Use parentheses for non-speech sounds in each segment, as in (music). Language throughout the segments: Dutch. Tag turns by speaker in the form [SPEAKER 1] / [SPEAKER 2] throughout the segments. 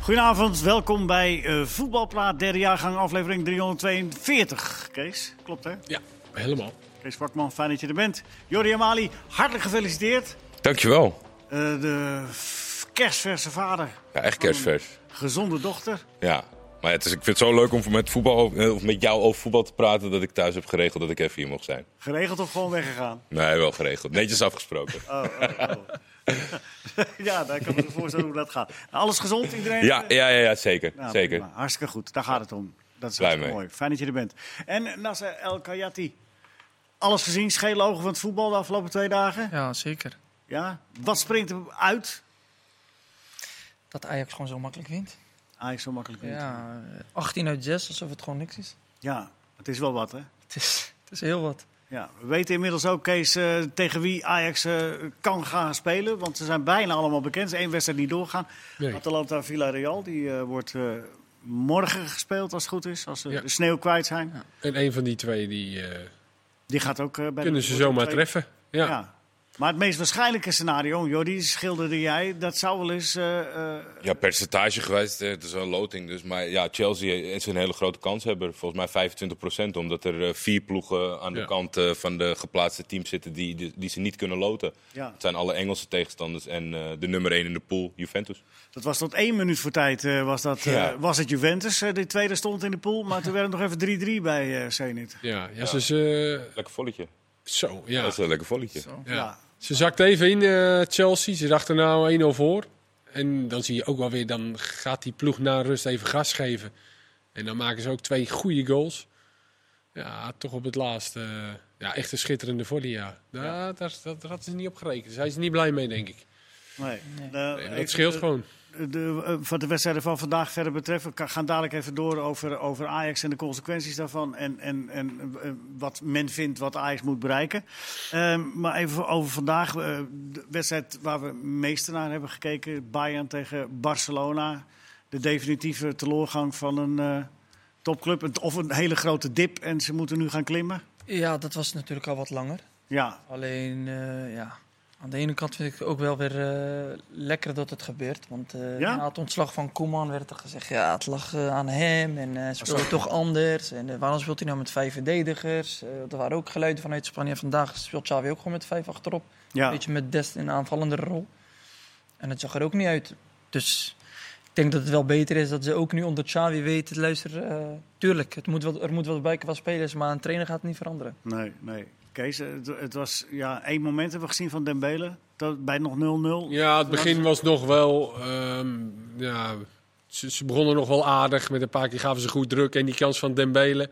[SPEAKER 1] Goedenavond, welkom bij eh, Voetbalpraat, derde jaargang, aflevering 342. Kees, klopt hè?
[SPEAKER 2] Ja, helemaal.
[SPEAKER 1] Kees Wakman, fijn dat je er bent. Jordi Amali, hartelijk gefeliciteerd.
[SPEAKER 3] Dankjewel.
[SPEAKER 1] Eh, de f- kerstverse vader,
[SPEAKER 3] Ja, echt kerstvers.
[SPEAKER 1] gezonde dochter.
[SPEAKER 3] Ja. Maar het is, ik vind het zo leuk om met, voetbal, eh, of met jou over voetbal te praten dat ik thuis heb geregeld dat ik even hier mocht zijn.
[SPEAKER 1] Geregeld of gewoon weggegaan?
[SPEAKER 3] Nee, wel geregeld. Netjes afgesproken.
[SPEAKER 1] Oh, oh, (laughs) oh. ja, daar kan ik me voorstellen hoe dat gaat. Nou, Alles gezond, iedereen?
[SPEAKER 3] Ja, ja, ja, ja zeker.
[SPEAKER 1] Nou,
[SPEAKER 3] zeker.
[SPEAKER 1] prima. Hartstikke goed, daar gaat het om. Dat is
[SPEAKER 3] Blij
[SPEAKER 1] hartstikke
[SPEAKER 3] mee.
[SPEAKER 1] mooi. Fijn dat je er bent. En Nasser El Kayati. Alles gezien, schele ogen van het voetbal de afgelopen twee dagen.
[SPEAKER 4] Ja, zeker.
[SPEAKER 1] Ja. Wat springt er uit?
[SPEAKER 4] Dat Ajax gewoon zo makkelijk wint.
[SPEAKER 1] Ajax Ah, zo makkelijk niet. Ja.
[SPEAKER 4] Ja, eh, 18 uit 6, alsof het gewoon niks is. (laughs)
[SPEAKER 1] het is wel wat, hè?
[SPEAKER 4] Het is, het is heel wat.
[SPEAKER 1] Ja. We weten inmiddels ook, Kees, eh, tegen wie Ajax eh, kan gaan spelen. Want ze zijn bijna allemaal bekend. Er is één wedstrijd niet doorgaan.
[SPEAKER 2] Nee.
[SPEAKER 1] Atalanta Villarreal, die eh, wordt eh, morgen gespeeld als het goed is. Als ze
[SPEAKER 2] Ja.
[SPEAKER 1] de sneeuw kwijt zijn.
[SPEAKER 2] En een van die twee die, eh,
[SPEAKER 1] Die gaat ook eh, bij de-
[SPEAKER 2] kunnen ze
[SPEAKER 1] wordt ook
[SPEAKER 2] zomaar
[SPEAKER 1] tweede.
[SPEAKER 2] treffen. Ja.
[SPEAKER 1] Ja. Maar het meest waarschijnlijke scenario, Jordi, schilderde jij, dat zou wel eens. eh, eh,
[SPEAKER 3] Ja, percentage geweest, eh, het is een loting. Dus, maar ja, Chelsea is een hele grote kans hebben. Volgens mij 25%, omdat er eh, vier ploegen aan de
[SPEAKER 2] Ja.
[SPEAKER 3] kant eh, van de geplaatste teams zitten die, die, die ze niet kunnen loten.
[SPEAKER 1] Ja.
[SPEAKER 3] Het zijn alle Engelse tegenstanders en eh, de nummer 1 in de pool, Juventus.
[SPEAKER 1] dat was tot één minuut voor tijd, eh, was, dat, eh,
[SPEAKER 3] Ja.
[SPEAKER 1] was het Juventus. eh, die tweede stond in de pool, maar toen werd het nog even 3-3 bij eh Zenit.
[SPEAKER 2] Ja, ja, ze, ze,
[SPEAKER 3] Lekker volletje.
[SPEAKER 2] zo,
[SPEAKER 3] Dat
[SPEAKER 2] ja,
[SPEAKER 3] is eh, een lekker volletje.
[SPEAKER 2] ja.
[SPEAKER 1] Ja.
[SPEAKER 2] Ze zakt even in eh, Chelsea. Ze dachten nou 1-0 voor. En dan zie je ook wel weer, dan gaat die ploeg na rust even gas geven. En dan maken ze ook twee goede goals. Ja, toch op het laatste. eh, ja, echt een schitterende volley, ja. Nou, Daar, daar, daar hadden ze niet op gerekend. Daar zijn ze niet blij mee, denk ik.
[SPEAKER 1] Nee.
[SPEAKER 4] Nee.
[SPEAKER 1] De-
[SPEAKER 2] Nee,
[SPEAKER 1] even
[SPEAKER 2] dat scheelt
[SPEAKER 1] de-
[SPEAKER 2] gewoon.
[SPEAKER 1] De, eh, wat de wedstrijden van vandaag verder betreft, we ka- gaan dadelijk even door over, over Ajax en de consequenties daarvan. En, en, en eh, wat men vindt wat Ajax moet bereiken. Ehm, maar even over vandaag, eh, de wedstrijd waar we het meeste naar hebben gekeken: Bayern tegen Barcelona. De definitieve teleurgang van een eh, topclub een- of een hele grote dip en ze moeten nu gaan klimmen.
[SPEAKER 4] Ja, dat was natuurlijk al wat langer.
[SPEAKER 1] Ja,
[SPEAKER 4] Alleen, eh, ja, aan de ene kant vind ik het ook wel weer eh, lekker dat het gebeurt. Want eh,
[SPEAKER 1] Ja?
[SPEAKER 4] na het ontslag van Koeman werd er gezegd, ja, het lag eh, aan hem en eh speelde toch anders. En eh, waarom speelt hij nou met vijf verdedigers? Eh, er waren ook geluiden vanuit Spanje. En Vandaag speelt Xavi ook gewoon met vijf achterop.
[SPEAKER 1] ja.
[SPEAKER 4] Een beetje met Dest in een aanvallende rol. En het zag er ook niet uit. Dus ik denk dat het wel beter is dat ze ook nu onder Xavi weten... luister, eh, tuurlijk, het moet wel, er moet wel bij qua spelers... maar een trainer gaat het niet veranderen.
[SPEAKER 1] Nee, nee. Kees, het, het was ja, één moment hebben we gezien van Dembele. Dat, bij nog 0-0.
[SPEAKER 2] Ja, het begin was nog wel. ehm, ja, ze, ze begonnen nog wel aardig. Met een paar keer gaven ze goed druk en die kans van Dembele.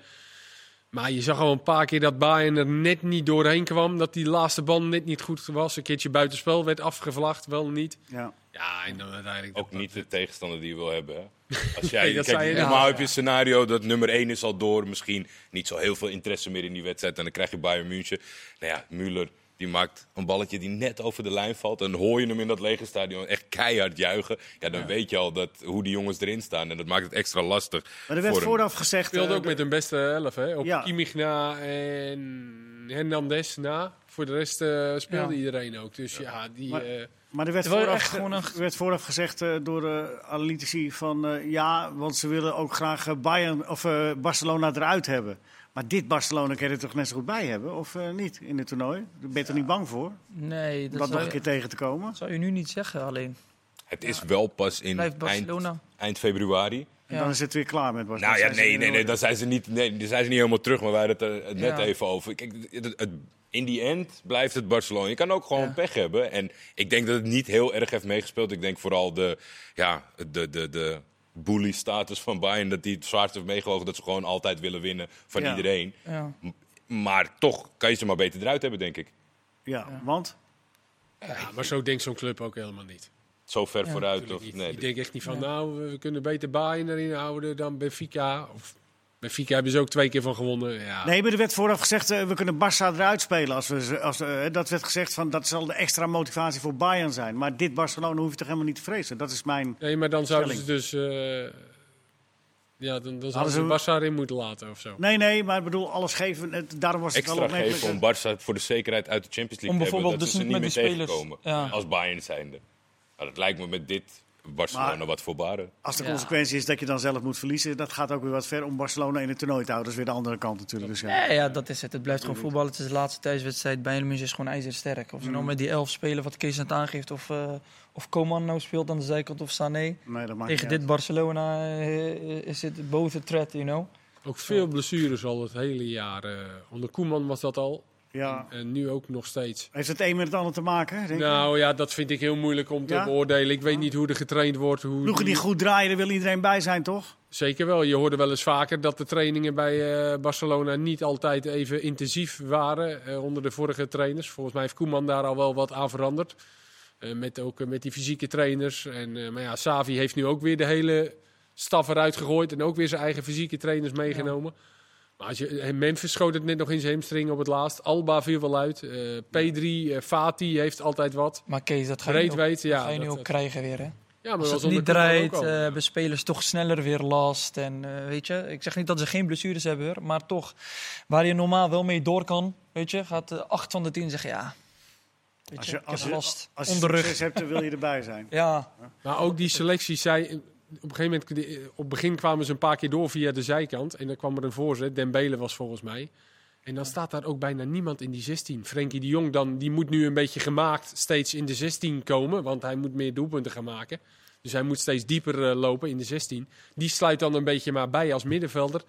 [SPEAKER 2] Maar je zag al een paar keer dat Bayern er net niet doorheen kwam. Dat die laatste bal net niet goed was. Een keertje buitenspel werd afgevlacht, wel niet.
[SPEAKER 1] Ja.
[SPEAKER 2] Ja, en dan uiteindelijk.
[SPEAKER 3] Ook niet de tegenstander die je wil hebben. Hè? Als jij,
[SPEAKER 2] dat
[SPEAKER 3] kijk,
[SPEAKER 2] zei je
[SPEAKER 3] normaal
[SPEAKER 2] nou.
[SPEAKER 3] heb je een scenario dat nummer 1 is al door. Misschien niet zo heel veel interesse meer in die wedstrijd. En dan krijg je Bayern München. Nou ja, Müller die maakt een balletje die net over de lijn valt. En hoor je hem in dat lege stadion echt keihard juichen. Ja, dan weet je al dat, hoe die jongens erin staan. En dat maakt het extra lastig.
[SPEAKER 1] Maar er werd
[SPEAKER 3] voor hem.
[SPEAKER 1] vooraf gezegd.
[SPEAKER 2] speelde
[SPEAKER 1] eh,
[SPEAKER 2] ook met hun beste elf, hè? Op
[SPEAKER 1] Ja.
[SPEAKER 2] Kimmich na en Hernandez na. Voor de rest eh, speelde
[SPEAKER 4] Ja.
[SPEAKER 2] iedereen ook. Dus ja, die.
[SPEAKER 1] Maar-
[SPEAKER 2] eh,
[SPEAKER 1] Maar er werd,
[SPEAKER 4] Er waren
[SPEAKER 1] vooraf,
[SPEAKER 4] echt
[SPEAKER 1] ge-
[SPEAKER 4] gewoon een-
[SPEAKER 1] werd vooraf gezegd eh, door de analytici van eh, ja, want ze willen ook graag eh, Bayern, of, eh, Barcelona eruit hebben. Maar dit Barcelona kan je er toch net zo goed bij hebben, of eh, niet, in het toernooi? Daar ben je er niet bang voor, om
[SPEAKER 4] Nee,
[SPEAKER 1] dat,
[SPEAKER 4] dat,
[SPEAKER 1] nog
[SPEAKER 4] zou,
[SPEAKER 1] een keer
[SPEAKER 4] je,
[SPEAKER 1] tegen te komen?
[SPEAKER 4] zou je nu niet zeggen alleen.
[SPEAKER 3] Het is wel pas in
[SPEAKER 4] Blijft
[SPEAKER 3] eind,
[SPEAKER 4] Barcelona.
[SPEAKER 3] eind februari.
[SPEAKER 1] En
[SPEAKER 4] Ja.
[SPEAKER 1] dan is het weer klaar met Barcelona.
[SPEAKER 3] Nou ja,
[SPEAKER 1] Zijn ze
[SPEAKER 3] nee,
[SPEAKER 1] weer
[SPEAKER 3] nee,
[SPEAKER 1] in
[SPEAKER 3] nee,
[SPEAKER 1] orde.
[SPEAKER 3] daar zijn ze niet, nee, daar zijn ze niet helemaal terug, maar wij hadden het er eh, net
[SPEAKER 4] Ja.
[SPEAKER 3] even over. Kijk, het- het- het- in die end blijft het Barcelona. Je kan ook gewoon
[SPEAKER 4] Ja.
[SPEAKER 3] pech hebben. En ik denk dat het niet heel erg heeft meegespeeld. Ik denk vooral de, ja, de, de, de bully-status van Bayern, dat die het zwaarst heeft meegewogen. Dat ze gewoon altijd willen winnen van
[SPEAKER 1] Ja.
[SPEAKER 3] iedereen.
[SPEAKER 4] Ja.
[SPEAKER 3] Maar toch kan je ze maar beter eruit hebben, denk ik.
[SPEAKER 1] Ja, want
[SPEAKER 2] ja, maar zo denkt zo'n club ook helemaal niet.
[SPEAKER 3] Zo ver
[SPEAKER 4] Ja,
[SPEAKER 3] vooruit.
[SPEAKER 2] Natuurlijk
[SPEAKER 3] Of,
[SPEAKER 2] niet.
[SPEAKER 3] nee,
[SPEAKER 2] ik denk echt niet van, nou, we kunnen beter Bayern erin houden dan Benfica. Of, Benfica hebben ze ook twee keer van gewonnen. Ja,
[SPEAKER 1] Nee, maar er werd vooraf gezegd, eh, we kunnen Barça eruit spelen. Als we, ze- als, eh, dat werd gezegd, van, dat zal de extra motivatie voor Bayern zijn. Maar dit Barcelona hoef je toch helemaal niet te vrezen? Dat is mijn...
[SPEAKER 2] Nee, maar dan zouden ze
[SPEAKER 1] Stelling.
[SPEAKER 2] dus... eh, ja, dan, dan zouden
[SPEAKER 1] Hadden
[SPEAKER 2] ze Barça erin moeten laten of zo.
[SPEAKER 1] Nee, nee, maar ik bedoel, alles geven, het- daarom was het wel
[SPEAKER 3] extra
[SPEAKER 1] opmerkelijk.
[SPEAKER 3] geven om Barça voor de zekerheid uit de Champions League
[SPEAKER 4] Om
[SPEAKER 3] te hebben.
[SPEAKER 4] bijvoorbeeld
[SPEAKER 3] Dat
[SPEAKER 4] dus
[SPEAKER 3] ze ze
[SPEAKER 4] niet
[SPEAKER 3] niet meer
[SPEAKER 4] met die spelers,
[SPEAKER 3] tegenkomen
[SPEAKER 4] ja.
[SPEAKER 3] als Bayern zijnde. Nou, dat lijkt me met dit Barcelona
[SPEAKER 1] Maar-
[SPEAKER 3] wat voorbaren.
[SPEAKER 1] Als de
[SPEAKER 4] Ja.
[SPEAKER 1] consequentie is dat je dan zelf moet verliezen, dat gaat ook weer wat ver om Barcelona in het toernooi te houden. Dat is weer de andere kant natuurlijk. Dus ja.
[SPEAKER 4] Ja, ja, dat is het. Het blijft gewoon voetbal. Het is de laatste thuiswedstrijd. Bayern München is gewoon ijzersterk. Of ze
[SPEAKER 1] Mm.
[SPEAKER 4] nou met die elf spelen wat Kees net aangeeft. Of, eh, of Coman nou speelt aan de zijkant of Sané.
[SPEAKER 1] Nee, dat maakt
[SPEAKER 4] Tegen
[SPEAKER 1] niet
[SPEAKER 4] dit Barcelona eh, is het boven threat, you know.
[SPEAKER 2] Ook veel blessures al het hele jaar. eh, onder Koeman was dat al.
[SPEAKER 1] uit. Ja.
[SPEAKER 2] En nu ook nog steeds.
[SPEAKER 1] Heeft het een met het ander te maken? Denk je?
[SPEAKER 2] Nou ja, dat vind ik heel moeilijk om te
[SPEAKER 1] Ja?
[SPEAKER 2] beoordelen. Ik weet niet hoe er getraind wordt. Hoe
[SPEAKER 1] Ploegen die
[SPEAKER 2] die-
[SPEAKER 1] goed draaien, daar wil iedereen bij zijn, toch?
[SPEAKER 2] Zeker wel. Je hoorde wel eens vaker dat de trainingen bij eh, Barcelona niet altijd even intensief waren eh, onder de vorige trainers. Volgens mij heeft Koeman daar al wel wat aan veranderd. Eh, met, ook eh, met die fysieke trainers. En, eh, maar ja, Savi heeft nu ook weer de hele staf eruit gegooid. En ook weer zijn eigen fysieke trainers meegenomen. Maar als je, eh, Memphis schoot het net nog in zijn hamstring op het laatst. Alba viel wel uit. Eh, P3, eh, Fati heeft altijd wat.
[SPEAKER 4] Maar Kees, dat ga je,
[SPEAKER 2] Breed
[SPEAKER 4] nu ook,
[SPEAKER 2] weten, ja.
[SPEAKER 4] ga je nu
[SPEAKER 2] dat-
[SPEAKER 4] ook krijgen weer, hè?
[SPEAKER 2] ja,
[SPEAKER 4] Als
[SPEAKER 2] maar dat
[SPEAKER 4] het
[SPEAKER 2] was onder
[SPEAKER 4] niet
[SPEAKER 2] Koeman ook
[SPEAKER 4] draait,
[SPEAKER 2] al.
[SPEAKER 4] eh, hebben spelers toch sneller weer last. En eh, weet je, ik zeg niet dat ze geen blessures hebben, hoor, maar toch, waar je normaal wel mee door kan, weet je, gaat eh, acht van de tien zeggen ja. Weet je, ik heb last
[SPEAKER 1] als je
[SPEAKER 4] onder de rug.
[SPEAKER 1] succes hebt, dan wil je erbij
[SPEAKER 4] (laughs)
[SPEAKER 1] zijn.
[SPEAKER 4] Ja,
[SPEAKER 2] Maar ook die selectie zei. Op een gegeven moment, eh, op het begin kwamen ze een paar keer door via de zijkant. En dan kwam er een voorzet. Dembele was volgens mij. En dan staat daar ook bijna niemand in die 16. Frenkie de Jong dan, die moet nu een beetje gemaakt steeds in de 16 komen. Want hij moet meer doelpunten gaan maken. Dus hij moet steeds dieper eh, lopen in de 16. Die sluit dan een beetje maar bij als middenvelder.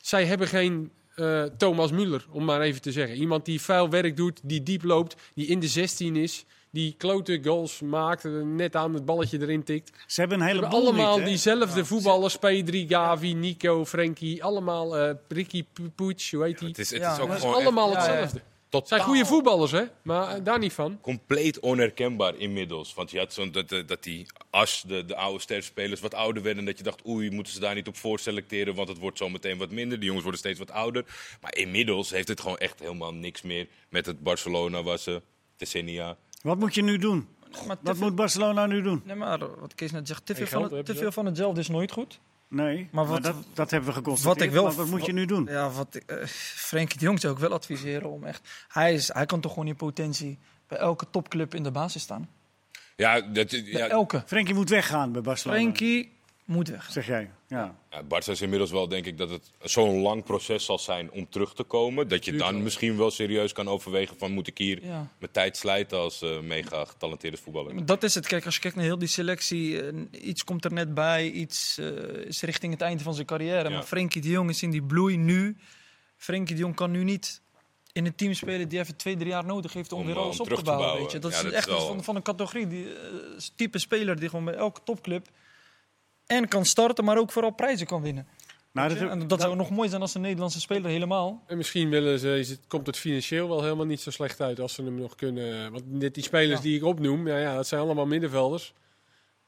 [SPEAKER 2] Zij hebben geen eh, Thomas Müller, om maar even te zeggen. Iemand die vuil werk doet, die diep loopt, die in de 16 is. Die klote goals maakt, eh, net aan het balletje erin tikt.
[SPEAKER 1] Ze hebben een
[SPEAKER 2] We
[SPEAKER 1] heleboel
[SPEAKER 2] hebben allemaal
[SPEAKER 1] niet, hè?
[SPEAKER 2] diezelfde voetballers. P3, Gavi, Nico, Frenkie. Allemaal eh Ricky Puig, hoe heet die?
[SPEAKER 3] Het is, het
[SPEAKER 4] Ja,
[SPEAKER 3] is ook
[SPEAKER 4] dat
[SPEAKER 2] Dat is
[SPEAKER 3] gewoon echt
[SPEAKER 2] allemaal
[SPEAKER 4] echt-
[SPEAKER 2] hetzelfde. Het
[SPEAKER 3] totaal
[SPEAKER 2] zijn goede voetballers, hè? Maar eh, daar niet van.
[SPEAKER 3] compleet onherkenbaar inmiddels. Want je had zo'n dat, eh, dat die as, de, de oude sterspelers, wat ouder werden. Dat je dacht, oei, moeten ze daar niet op voorselecteren? Want het wordt zo meteen wat minder. Die jongens worden steeds wat ouder. Maar inmiddels heeft het gewoon echt helemaal niks meer met het Barcelona was ze decennia.
[SPEAKER 1] Wat moet je nu doen?
[SPEAKER 4] maar te
[SPEAKER 1] Wat
[SPEAKER 4] veel-
[SPEAKER 1] moet Barcelona nu doen?
[SPEAKER 4] nee, maar wat Kees net zegt, te veel,
[SPEAKER 2] Geen
[SPEAKER 4] van,
[SPEAKER 2] geld
[SPEAKER 4] het- te
[SPEAKER 2] hebben ze.
[SPEAKER 4] veel van hetzelfde is nooit goed.
[SPEAKER 1] Nee, maar
[SPEAKER 4] Maar wat-
[SPEAKER 1] dat, dat hebben we geconstateerd.
[SPEAKER 4] wat ik wel-
[SPEAKER 1] maar wat moet je nu doen?
[SPEAKER 4] Ja, wat ik- eh, Frenkie de Jong zou ik wel adviseren om echt... Hij, is, hij kan toch gewoon in potentie bij elke topclub in de basis staan?
[SPEAKER 3] Ja, dat,
[SPEAKER 4] Bij
[SPEAKER 3] ja
[SPEAKER 4] elke.
[SPEAKER 1] Frenkie moet weggaan bij Barcelona,
[SPEAKER 4] Frenkie moet weg.
[SPEAKER 1] zeg jij. Ja. Nou,
[SPEAKER 3] Ja, Barca is inmiddels wel, denk ik, dat het zo'n lang proces zal zijn om terug te komen. Dat je dan misschien wel serieus kan overwegen van moet ik hier
[SPEAKER 4] Ja.
[SPEAKER 3] mijn tijd slijten als eh, mega getalenteerde voetballer.
[SPEAKER 4] Maar Dat is het. Kijk, als je kijkt naar heel die selectie, eh, iets komt er net bij, iets eh, is richting het einde van zijn carrière.
[SPEAKER 3] Ja.
[SPEAKER 4] Maar Frenkie de Jong is in die bloei nu. Frenkie de Jong kan nu niet in een team spelen die even twee, drie jaar nodig heeft om,
[SPEAKER 3] Om,
[SPEAKER 4] weer
[SPEAKER 3] eh,
[SPEAKER 4] alles
[SPEAKER 3] om
[SPEAKER 4] op
[SPEAKER 3] terug
[SPEAKER 4] te
[SPEAKER 3] te
[SPEAKER 4] bouwen.
[SPEAKER 3] bouwen.
[SPEAKER 4] weet je. Dat
[SPEAKER 3] Ja,
[SPEAKER 4] is
[SPEAKER 3] dat is
[SPEAKER 4] echt
[SPEAKER 3] wel-
[SPEAKER 4] van, van een categorie, die eh, type speler die gewoon bij elke topclub en kan starten, maar ook vooral prijzen kan winnen.
[SPEAKER 1] Nou, dat,
[SPEAKER 4] En dat,
[SPEAKER 1] dat-
[SPEAKER 4] zou nog mooi zijn als een Nederlandse speler helemaal.
[SPEAKER 2] En misschien willen ze, is het, komt het financieel wel helemaal niet zo slecht uit als ze hem nog kunnen. eh, Want net die spelers
[SPEAKER 4] Ja.
[SPEAKER 2] die ik opnoem, nou ja, dat zijn allemaal middenvelders.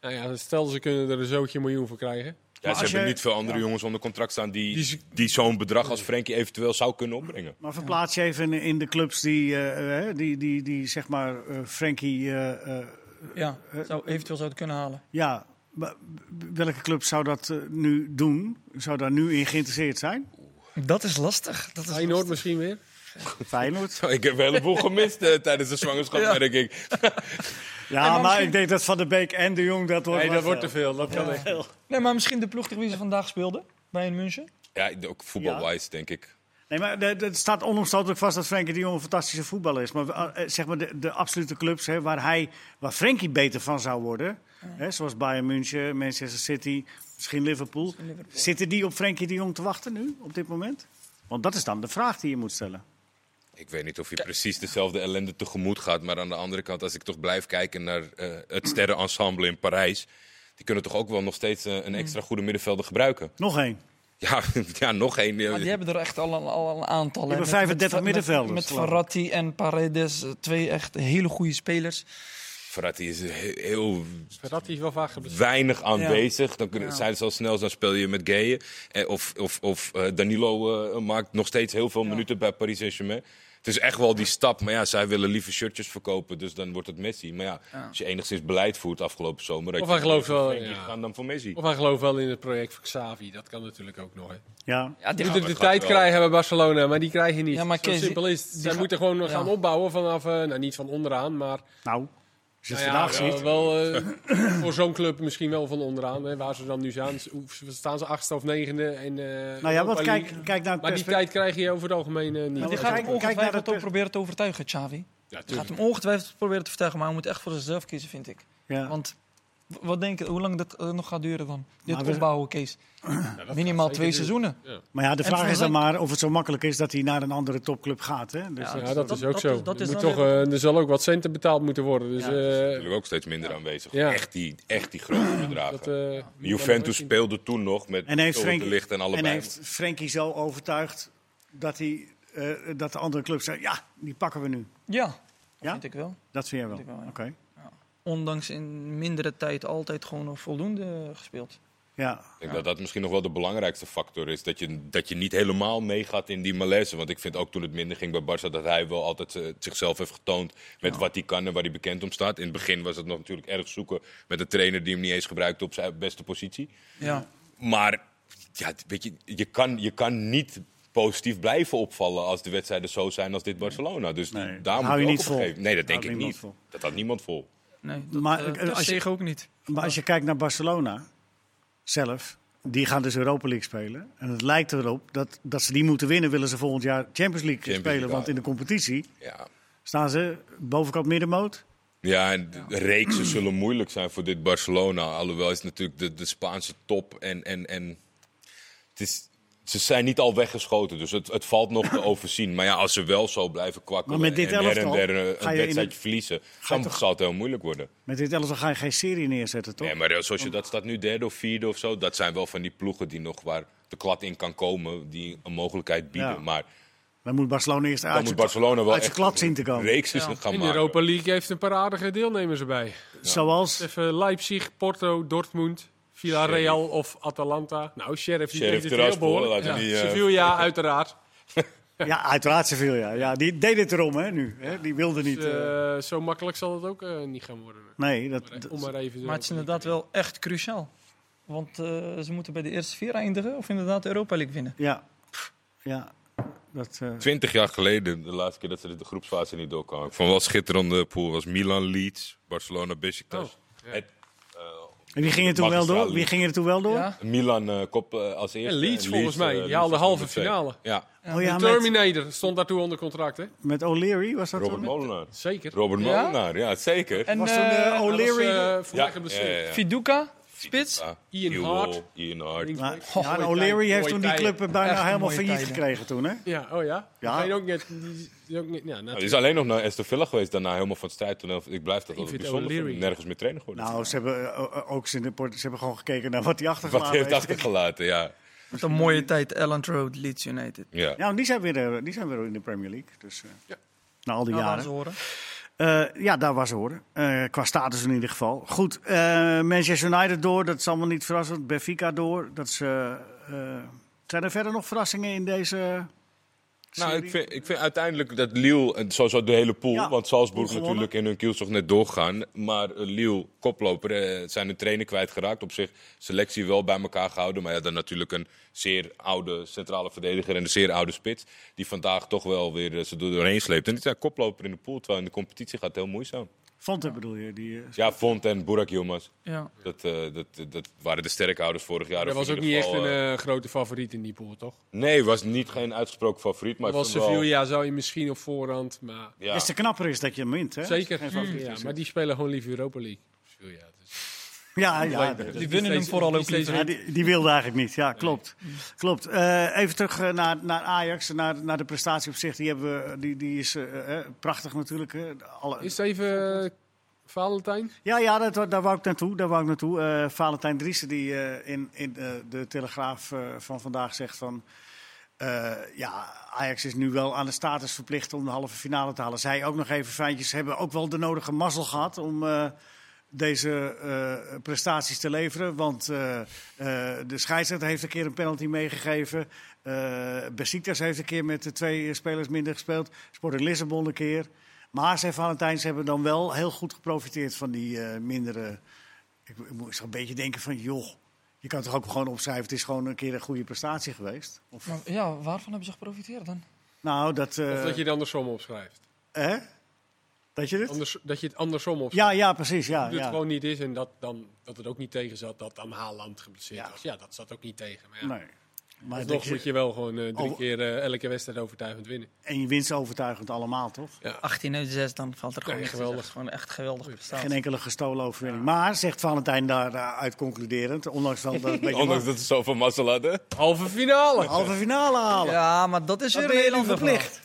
[SPEAKER 2] Nou ja, stel ze kunnen er een zootje miljoen voor krijgen.
[SPEAKER 3] Ja, ze
[SPEAKER 1] als
[SPEAKER 3] hebben
[SPEAKER 1] je-
[SPEAKER 3] niet veel andere jongens onder contract staan die,
[SPEAKER 2] Die
[SPEAKER 3] die,
[SPEAKER 2] ze-
[SPEAKER 3] zo'n bedrag als Frenkie eventueel zou kunnen opbrengen. (laughs)
[SPEAKER 1] Maar verplaats je even in- in de clubs die, eh, eh, die, die, die zeg maar, eh, Frenkie... eh, eh,
[SPEAKER 4] Ja, zou eventueel zou het kunnen halen.
[SPEAKER 1] ja, maar welke club zou dat eh, nu doen? Zou daar nu in geïnteresseerd zijn?
[SPEAKER 4] Dat is lastig. Dat is
[SPEAKER 2] Feyenoord misschien weer.
[SPEAKER 1] Feyenoord?
[SPEAKER 3] Ik heb een heleboel gemist eh, tijdens de zwangerschap,
[SPEAKER 4] Ja.
[SPEAKER 3] merk ik.
[SPEAKER 1] Ja, maar ik denk dat Van der Beek en de Jong, dat wordt
[SPEAKER 2] Nee, dat
[SPEAKER 1] wel
[SPEAKER 2] wordt te veel. Dat kan echt.
[SPEAKER 4] Nee, maar misschien de ploeg tegen wie ze vandaag speelden, bij een
[SPEAKER 2] Oh,
[SPEAKER 4] München.
[SPEAKER 3] Ja, ook voetbalwijs, denk ik.
[SPEAKER 1] Nee, maar de- de- het staat onomstotelijk vast dat Frenkie de Jong een fantastische voetballer is. Maar eh, eh, zeg maar de, de absolute clubs hè, waar, hij, waar Frenkie beter van zou worden, hè, zoals Bayern München, Manchester City, misschien Liverpool,
[SPEAKER 4] Liverpool.
[SPEAKER 1] Zitten die op Frenkie de Jong te wachten nu, op dit moment? Want dat is dan de vraag die je moet stellen.
[SPEAKER 3] Ik weet niet of je precies dezelfde ellende tegemoet gaat. Maar aan de andere kant, als ik toch blijf kijken naar eh, het sterrenensemble in Parijs. Die kunnen toch ook wel nog steeds eh, een extra goede middenvelder gebruiken. (laughs)
[SPEAKER 1] Nog één.
[SPEAKER 3] Ja, ja nog één. eh,
[SPEAKER 4] Maar die hebben er echt al, een- al een aantal. hè.
[SPEAKER 1] hebben
[SPEAKER 4] Met-
[SPEAKER 1] 35
[SPEAKER 4] met- met-
[SPEAKER 1] middenvelders,
[SPEAKER 4] Met
[SPEAKER 1] geloof ik.
[SPEAKER 4] Verratti en Paredes, eh, twee echt hele goede spelers.
[SPEAKER 3] Verratti is he- heel
[SPEAKER 2] Verratti is wel vaak geblesseerd.
[SPEAKER 3] weinig aanwezig. Dan kunnen,
[SPEAKER 4] Ja.
[SPEAKER 3] zijn ze al snel, dan speel je met Gaye. Eh, of of, of eh, Danilo eh, maakt nog steeds heel veel minuten bij Paris Saint-Germain. Het is echt wel die stap. Maar ja, zij willen liever shirtjes verkopen, dus dan wordt het Messi. Maar ja, als je enigszins beleid voert afgelopen zomer... dat
[SPEAKER 2] Of
[SPEAKER 3] je
[SPEAKER 2] hij gelooft wel,
[SPEAKER 3] Frenkie
[SPEAKER 2] ja.
[SPEAKER 3] gaan dan voor Messi.
[SPEAKER 2] Of hij gelooft wel in het project van Xavi. Dat kan natuurlijk ook nog. Hè.
[SPEAKER 1] Ja.
[SPEAKER 4] Ja, die
[SPEAKER 2] Je
[SPEAKER 4] gaan-
[SPEAKER 2] moet er de
[SPEAKER 3] gaat
[SPEAKER 2] tijd
[SPEAKER 3] wel.
[SPEAKER 2] krijgen bij Barcelona, maar die krijg je niet.
[SPEAKER 4] Ja, maar
[SPEAKER 2] Zo
[SPEAKER 4] Kees,
[SPEAKER 2] simpel is het. Zij
[SPEAKER 4] ga-
[SPEAKER 2] moeten gewoon
[SPEAKER 4] ja.
[SPEAKER 2] gaan opbouwen vanaf, eh, nou niet van onderaan, maar
[SPEAKER 1] Nou, Als je het
[SPEAKER 2] Nou ja,
[SPEAKER 1] vandaag
[SPEAKER 2] wel-
[SPEAKER 1] ziet. (laughs)
[SPEAKER 2] wel, eh, voor zo'n club misschien wel van onderaan, hè, waar ze dan nu zijn. Ze- hoe- ze- Staan ze achtste of negende? En, eh,
[SPEAKER 1] nou ja,
[SPEAKER 2] Europa
[SPEAKER 1] want kijk,
[SPEAKER 2] League.
[SPEAKER 1] kijk nou, naar het
[SPEAKER 2] Maar die
[SPEAKER 1] perspe-
[SPEAKER 2] tijd krijg je over het algemeen eh, niet.
[SPEAKER 1] Nou,
[SPEAKER 4] Die
[SPEAKER 1] maar
[SPEAKER 2] Ja,
[SPEAKER 1] kijk-
[SPEAKER 4] gaat hem
[SPEAKER 1] kijk naar
[SPEAKER 4] ongetwijfeld
[SPEAKER 1] de-
[SPEAKER 4] ook proberen te overtuigen, Xavi. Die gaat
[SPEAKER 2] tuurlijk.
[SPEAKER 4] hem ongetwijfeld proberen te vertuigen, maar hij moet echt voor zichzelf kiezen, vind ik.
[SPEAKER 1] ja.
[SPEAKER 4] Want w- wat denk je, hoe lang dat eh, nog gaat duren dan? Dit
[SPEAKER 1] Maar we-
[SPEAKER 4] opbouwen, Kees.
[SPEAKER 2] Ja, dat
[SPEAKER 4] Minimaal
[SPEAKER 2] gaat
[SPEAKER 4] twee
[SPEAKER 2] zeker duren.
[SPEAKER 4] seizoenen.
[SPEAKER 1] Maar ja, de
[SPEAKER 4] En
[SPEAKER 1] vraag
[SPEAKER 4] Van
[SPEAKER 1] is dan
[SPEAKER 4] Dijk-
[SPEAKER 1] maar of het zo makkelijk is dat hij naar een andere topclub gaat. Hè? Dus,
[SPEAKER 4] Ja.
[SPEAKER 1] eh,
[SPEAKER 2] Ja, dat,
[SPEAKER 4] Dat-
[SPEAKER 2] is ook
[SPEAKER 4] dat
[SPEAKER 2] zo.
[SPEAKER 4] is- dat
[SPEAKER 2] er,
[SPEAKER 4] is
[SPEAKER 2] moet
[SPEAKER 4] dan
[SPEAKER 2] toch, eh, er zal ook wat centen betaald moeten worden. Dus,
[SPEAKER 4] Ja,
[SPEAKER 2] eh,
[SPEAKER 3] Natuurlijk ook steeds minder aanwezig.
[SPEAKER 2] Ja.
[SPEAKER 3] Echt, die, echt die grote bedragen.
[SPEAKER 2] dat, eh,
[SPEAKER 3] Juventus speelde toen nog met
[SPEAKER 1] en heeft,
[SPEAKER 3] Tulpen,
[SPEAKER 1] Frenkie,
[SPEAKER 3] de licht en allebei.
[SPEAKER 1] en heeft Frenkie zo overtuigd dat, hij, eh, dat de andere clubs zeggen: ja, die pakken we nu.
[SPEAKER 4] Ja,
[SPEAKER 1] Ja?
[SPEAKER 4] vind ik wel.
[SPEAKER 1] Dat vind je wel.
[SPEAKER 4] Vind ik wel, ja.
[SPEAKER 1] Oké.
[SPEAKER 4] Ondanks in mindere tijd altijd gewoon nog voldoende gespeeld.
[SPEAKER 1] Ja.
[SPEAKER 3] Ik denk dat dat misschien nog wel de belangrijkste factor is. Dat je, dat je niet helemaal meegaat in die malaise. Want ik vind ook toen het minder ging bij Barça... dat hij wel altijd eh, zichzelf heeft getoond met wat hij kan en waar hij bekend om staat. In het begin was het nog natuurlijk erg zoeken met een trainer... die hem niet eens gebruikte op zijn beste positie.
[SPEAKER 4] Ja.
[SPEAKER 3] Maar ja, weet je, je, kan, je kan niet positief blijven opvallen als de wedstrijden zo zijn als dit Barcelona. Dus
[SPEAKER 1] Nee,
[SPEAKER 3] daar
[SPEAKER 1] dat
[SPEAKER 3] moet
[SPEAKER 1] hou je
[SPEAKER 3] ook
[SPEAKER 1] niet
[SPEAKER 3] op een
[SPEAKER 1] vol.
[SPEAKER 3] gegeven- Nee,
[SPEAKER 1] Dat
[SPEAKER 3] dat denk
[SPEAKER 1] houdt
[SPEAKER 3] ik
[SPEAKER 1] niemand
[SPEAKER 3] niet.
[SPEAKER 1] vol.
[SPEAKER 3] Dat had niemand vol.
[SPEAKER 4] Nee, dat,
[SPEAKER 1] Maar,
[SPEAKER 4] maar,
[SPEAKER 1] eh, als je-
[SPEAKER 4] ook niet.
[SPEAKER 1] Maar als je kijkt naar Barcelona zelf, die gaan dus Europa League spelen. En het lijkt erop dat, dat ze die moeten winnen, willen ze volgend jaar Champions League
[SPEAKER 3] Champions
[SPEAKER 1] spelen.
[SPEAKER 3] League,
[SPEAKER 1] want
[SPEAKER 3] ja.
[SPEAKER 1] in de competitie
[SPEAKER 3] Ja.
[SPEAKER 1] staan ze bovenkant middenmoot.
[SPEAKER 3] Ja, en de reeksen zullen moeilijk zijn voor dit Barcelona. Alhoewel is natuurlijk de, de Spaanse top en. en, en het is, ze zijn niet al weggeschoten, dus het, het valt
[SPEAKER 1] (coughs)
[SPEAKER 3] nog te overzien. Maar ja, als ze wel zo blijven kwakkelen
[SPEAKER 1] Maar met dit
[SPEAKER 3] en her en
[SPEAKER 1] elftal
[SPEAKER 3] der een
[SPEAKER 1] ga je in
[SPEAKER 3] wedstrijdje
[SPEAKER 1] het-
[SPEAKER 3] verliezen,
[SPEAKER 1] je
[SPEAKER 3] dan
[SPEAKER 1] toch-
[SPEAKER 3] zal het heel moeilijk worden.
[SPEAKER 1] Met dit elftal ga je geen serie neerzetten, toch?
[SPEAKER 3] Nee, maar eh, zoals je dat staat nu derde of vierde of zo, dat zijn wel van die ploegen die nog waar de klad in kan komen, die een mogelijkheid bieden.
[SPEAKER 1] Ja.
[SPEAKER 3] Maar
[SPEAKER 1] Dan moet Barcelona eerst
[SPEAKER 3] dan
[SPEAKER 1] uit
[SPEAKER 3] moet
[SPEAKER 1] zijn,
[SPEAKER 3] Barcelona wel
[SPEAKER 1] uit zijn
[SPEAKER 3] echt
[SPEAKER 1] klad zien te komen.
[SPEAKER 3] reeksen
[SPEAKER 4] Ja.
[SPEAKER 3] gaan
[SPEAKER 2] In de
[SPEAKER 3] maken.
[SPEAKER 2] Europa League heeft een paar aardige deelnemers erbij.
[SPEAKER 1] Zoals,
[SPEAKER 2] Even Leipzig, Porto, Dortmund, Villarreal of Atalanta. Nou, Sheriff, die
[SPEAKER 3] Sheriff
[SPEAKER 2] heeft het
[SPEAKER 3] eruit
[SPEAKER 2] heel behoorlijk.
[SPEAKER 3] voor, laten
[SPEAKER 2] Ja.
[SPEAKER 3] we die, eh,
[SPEAKER 2] Sevilla, uiteraard.
[SPEAKER 1] ja, uiteraard Sevilla. Ja, die deed het erom, hè, nu. Hè? Die wilde niet.
[SPEAKER 2] Dus,
[SPEAKER 1] eh,
[SPEAKER 2] eh, zo makkelijk zal het ook eh, niet gaan worden.
[SPEAKER 1] nee, dat,
[SPEAKER 2] Maar, eh,
[SPEAKER 1] dat-
[SPEAKER 2] Om maar even zo-
[SPEAKER 4] Maar het is inderdaad wel echt cruciaal. Want eh, ze moeten bij de eerste vier eindigen of inderdaad de Europa League winnen.
[SPEAKER 1] ja. Ja, dat... eh,
[SPEAKER 3] Twintig jaar geleden, de laatste keer dat ze de groepsfase niet doorkwamen. Van wel schitterende pool was Milan, Leeds, Barcelona, Besiktas.
[SPEAKER 2] Oh, ja.
[SPEAKER 3] Het-
[SPEAKER 1] en wie ging er toen wel door? Wie ging er toen wel door?
[SPEAKER 4] Ja.
[SPEAKER 3] Milan eh, kop eh, als eerste.
[SPEAKER 2] En Leeds volgens
[SPEAKER 3] eh,
[SPEAKER 2] mij. Die
[SPEAKER 3] Leeds
[SPEAKER 2] haalde
[SPEAKER 3] als
[SPEAKER 2] halve
[SPEAKER 3] nummer twee.
[SPEAKER 2] finale.
[SPEAKER 3] Ja,
[SPEAKER 1] Oh ja, met,
[SPEAKER 2] Terminator stond daartoe onder contract, hè?
[SPEAKER 1] met O'Leary was dat
[SPEAKER 3] Robert
[SPEAKER 1] toen?
[SPEAKER 3] Molenaar.
[SPEAKER 2] Zeker.
[SPEAKER 3] Robert
[SPEAKER 4] Ja?
[SPEAKER 3] Molenaar, ja, zeker.
[SPEAKER 4] En
[SPEAKER 1] Was toen eh,
[SPEAKER 4] eh,
[SPEAKER 2] Dat was,
[SPEAKER 1] O'Leary...
[SPEAKER 2] eh, vandaag
[SPEAKER 3] ja,
[SPEAKER 2] geblesseerd.
[SPEAKER 3] ja, ja, ja.
[SPEAKER 4] Viduka, spits.
[SPEAKER 3] Ja,
[SPEAKER 2] Ian Hart.
[SPEAKER 3] Ewell, Ian Hart.
[SPEAKER 2] Links-
[SPEAKER 1] Maar,
[SPEAKER 4] Goh,
[SPEAKER 1] Nou, ja, en
[SPEAKER 2] mooie
[SPEAKER 1] O'Leary
[SPEAKER 2] tijden,
[SPEAKER 1] heeft
[SPEAKER 2] mooie
[SPEAKER 1] toen die
[SPEAKER 2] tijden.
[SPEAKER 1] club bijna
[SPEAKER 4] Echt
[SPEAKER 1] helemaal
[SPEAKER 4] mooie
[SPEAKER 1] failliet
[SPEAKER 4] tijden.
[SPEAKER 1] gekregen toen, hè?
[SPEAKER 2] Ja, oh ja.
[SPEAKER 1] Ja.
[SPEAKER 2] Die is ook net, die is ook net, ja, nou,
[SPEAKER 3] Hij
[SPEAKER 2] net-
[SPEAKER 3] Nou, is alleen nog naar Aston Villa geweest, daarna helemaal van strijd. Toen, ik blijf dat altijd
[SPEAKER 2] vind
[SPEAKER 3] bijzonder
[SPEAKER 2] O'Leary-
[SPEAKER 3] vinden. Nergens meer trainen geworden. (laughs)
[SPEAKER 1] Nou, ze hebben eh, o- o- ook ze in de port- ze hebben gewoon gekeken naar wat hij
[SPEAKER 3] Wat
[SPEAKER 1] achtergelaten
[SPEAKER 3] hij heeft
[SPEAKER 1] heeft.
[SPEAKER 3] achtergelaten, ja.
[SPEAKER 4] Met een mooie tijd, Elland Road, Leeds United.
[SPEAKER 3] ja.
[SPEAKER 1] Ja, want die zijn weer, eh, die zijn weer in de Premier League. Dus, eh,
[SPEAKER 2] Ja.
[SPEAKER 1] Na al die
[SPEAKER 4] Nou, laten
[SPEAKER 1] jaren.
[SPEAKER 4] ze horen.
[SPEAKER 1] Eh, ja, daar was ze horen. Eh, qua status in ieder geval. Goed, eh, Manchester United door, dat is allemaal niet verrassend. Benfica door, dat is... eh, eh, zijn er verder nog verrassingen in deze
[SPEAKER 3] Nou, ik
[SPEAKER 1] serie?
[SPEAKER 3] vind, ik vind uiteindelijk dat Lille, en sowieso de hele pool,
[SPEAKER 1] Ja,
[SPEAKER 3] want Salzburg
[SPEAKER 1] gewonnen.
[SPEAKER 3] natuurlijk in hun kielzog net doorgaan. Maar eh, Lille, koploper, eh, zijn hun trainer kwijtgeraakt. Op zich selectie wel bij elkaar gehouden. Maar ja, dan natuurlijk een zeer oude centrale verdediger en een zeer oude spits. Die vandaag toch wel weer eh, ze er doorheen sleept. En die zijn koploper in de pool, terwijl in de competitie gaat het heel moeizaam.
[SPEAKER 1] Vond het bedoel je? Die, eh,
[SPEAKER 3] Ja, Font en Burak Yilmaz,
[SPEAKER 4] Ja.
[SPEAKER 3] dat, eh, dat, dat waren de sterkhouders vorig jaar.
[SPEAKER 2] dat
[SPEAKER 3] Of
[SPEAKER 2] was
[SPEAKER 3] in
[SPEAKER 2] ook niet
[SPEAKER 3] ieder
[SPEAKER 2] echt
[SPEAKER 3] geval,
[SPEAKER 2] een
[SPEAKER 3] eh,
[SPEAKER 2] eh, grote favoriet in die pool, toch?
[SPEAKER 3] Nee, was niet geen uitgesproken favoriet. Maar
[SPEAKER 2] Dat
[SPEAKER 3] ik
[SPEAKER 2] was
[SPEAKER 3] vond wel-
[SPEAKER 2] Sevilla, zou je misschien op voorhand, maar...
[SPEAKER 3] Ja.
[SPEAKER 1] Des te knapper is dat je hem wint, hè?
[SPEAKER 2] Zeker.
[SPEAKER 1] Geen favoriet
[SPEAKER 2] Ja,
[SPEAKER 1] is
[SPEAKER 2] maar
[SPEAKER 1] het.
[SPEAKER 2] die spelen gewoon liever Europa League. Sevilla, dus.
[SPEAKER 1] Ja, ja.
[SPEAKER 2] Leuk, hè?
[SPEAKER 1] dat-
[SPEAKER 4] Die winnen hem
[SPEAKER 2] steeds-
[SPEAKER 4] vooral
[SPEAKER 2] die
[SPEAKER 4] ook
[SPEAKER 2] steeds-
[SPEAKER 4] liever.
[SPEAKER 1] Ja, die, die wilde eigenlijk niet. Ja, klopt. klopt. Eh, even terug eh, naar, naar Ajax, naar, naar de prestatie op zich. Die, hebben we, die, die is eh, eh, prachtig natuurlijk. hè. alle...
[SPEAKER 2] Is het even eh, Valentijn?
[SPEAKER 1] Ja, ja dat, wa- daar wou ik naartoe. Daar wou ik naartoe. Eh, Valentijn Driessen die eh, in, in eh, de Telegraaf eh, van vandaag zegt van... eh, ja, Ajax is nu wel aan de status verplicht om de halve finale te halen. Zij ook nog even fijntjes. Ze hebben ook wel de nodige mazzel gehad om... eh, deze eh, prestaties te leveren. Want eh, eh, de scheidsrechter heeft een keer een penalty meegegeven. Eh Besiktas heeft een keer met de twee spelers minder gespeeld. Sporting Lissabon een keer. Maar en Valentijns hebben dan wel heel goed geprofiteerd van die eh, mindere... Ik, mo- ik moest een beetje denken van, joh, je kan toch ook gewoon opschrijven... het is gewoon een keer een goede prestatie geweest. Of,
[SPEAKER 4] Maar, ja, waarvan hebben ze geprofiteerd dan?
[SPEAKER 1] nou, dat... eh,
[SPEAKER 2] Of dat je dan de som opschrijft?
[SPEAKER 1] hè? Dat je het?
[SPEAKER 2] Anders, dat je het andersom opstelt.
[SPEAKER 1] Ja, ja, precies. Ja,
[SPEAKER 2] dat het
[SPEAKER 1] Ah, ja.
[SPEAKER 2] gewoon niet is en dat, dan, dat het ook niet tegen zat dat dan Haaland geblesseerd
[SPEAKER 1] Ja.
[SPEAKER 2] was. Ja, dat zat ook niet tegen. Maar ja,
[SPEAKER 1] Nee. Maar dat
[SPEAKER 2] alsnog
[SPEAKER 1] je- Oh.
[SPEAKER 2] moet je wel gewoon eh, drie
[SPEAKER 1] Over-
[SPEAKER 2] keer eh, elke wedstrijd overtuigend winnen.
[SPEAKER 1] En je winst overtuigend allemaal, toch?
[SPEAKER 4] 18 uit 6, dan valt er gewoon
[SPEAKER 2] Nee,
[SPEAKER 4] niks te
[SPEAKER 2] geweldig.
[SPEAKER 4] zeggen. Gewoon echt geweldig prestatie.
[SPEAKER 1] Geen enkele gestolen overwinning. Maar, zegt Valentijn daaruit concluderend, ondanks dat
[SPEAKER 2] (laughs)
[SPEAKER 1] we een beetje
[SPEAKER 3] Ondanks dat ze zoveel mazzel hadden.
[SPEAKER 2] Halve finale!
[SPEAKER 1] halve finale halen.
[SPEAKER 4] Ja, maar dat is
[SPEAKER 1] Dan
[SPEAKER 4] weer
[SPEAKER 1] ben
[SPEAKER 4] een
[SPEAKER 1] je
[SPEAKER 4] heel
[SPEAKER 1] nu
[SPEAKER 4] ander
[SPEAKER 1] verplicht.
[SPEAKER 4] verhaal.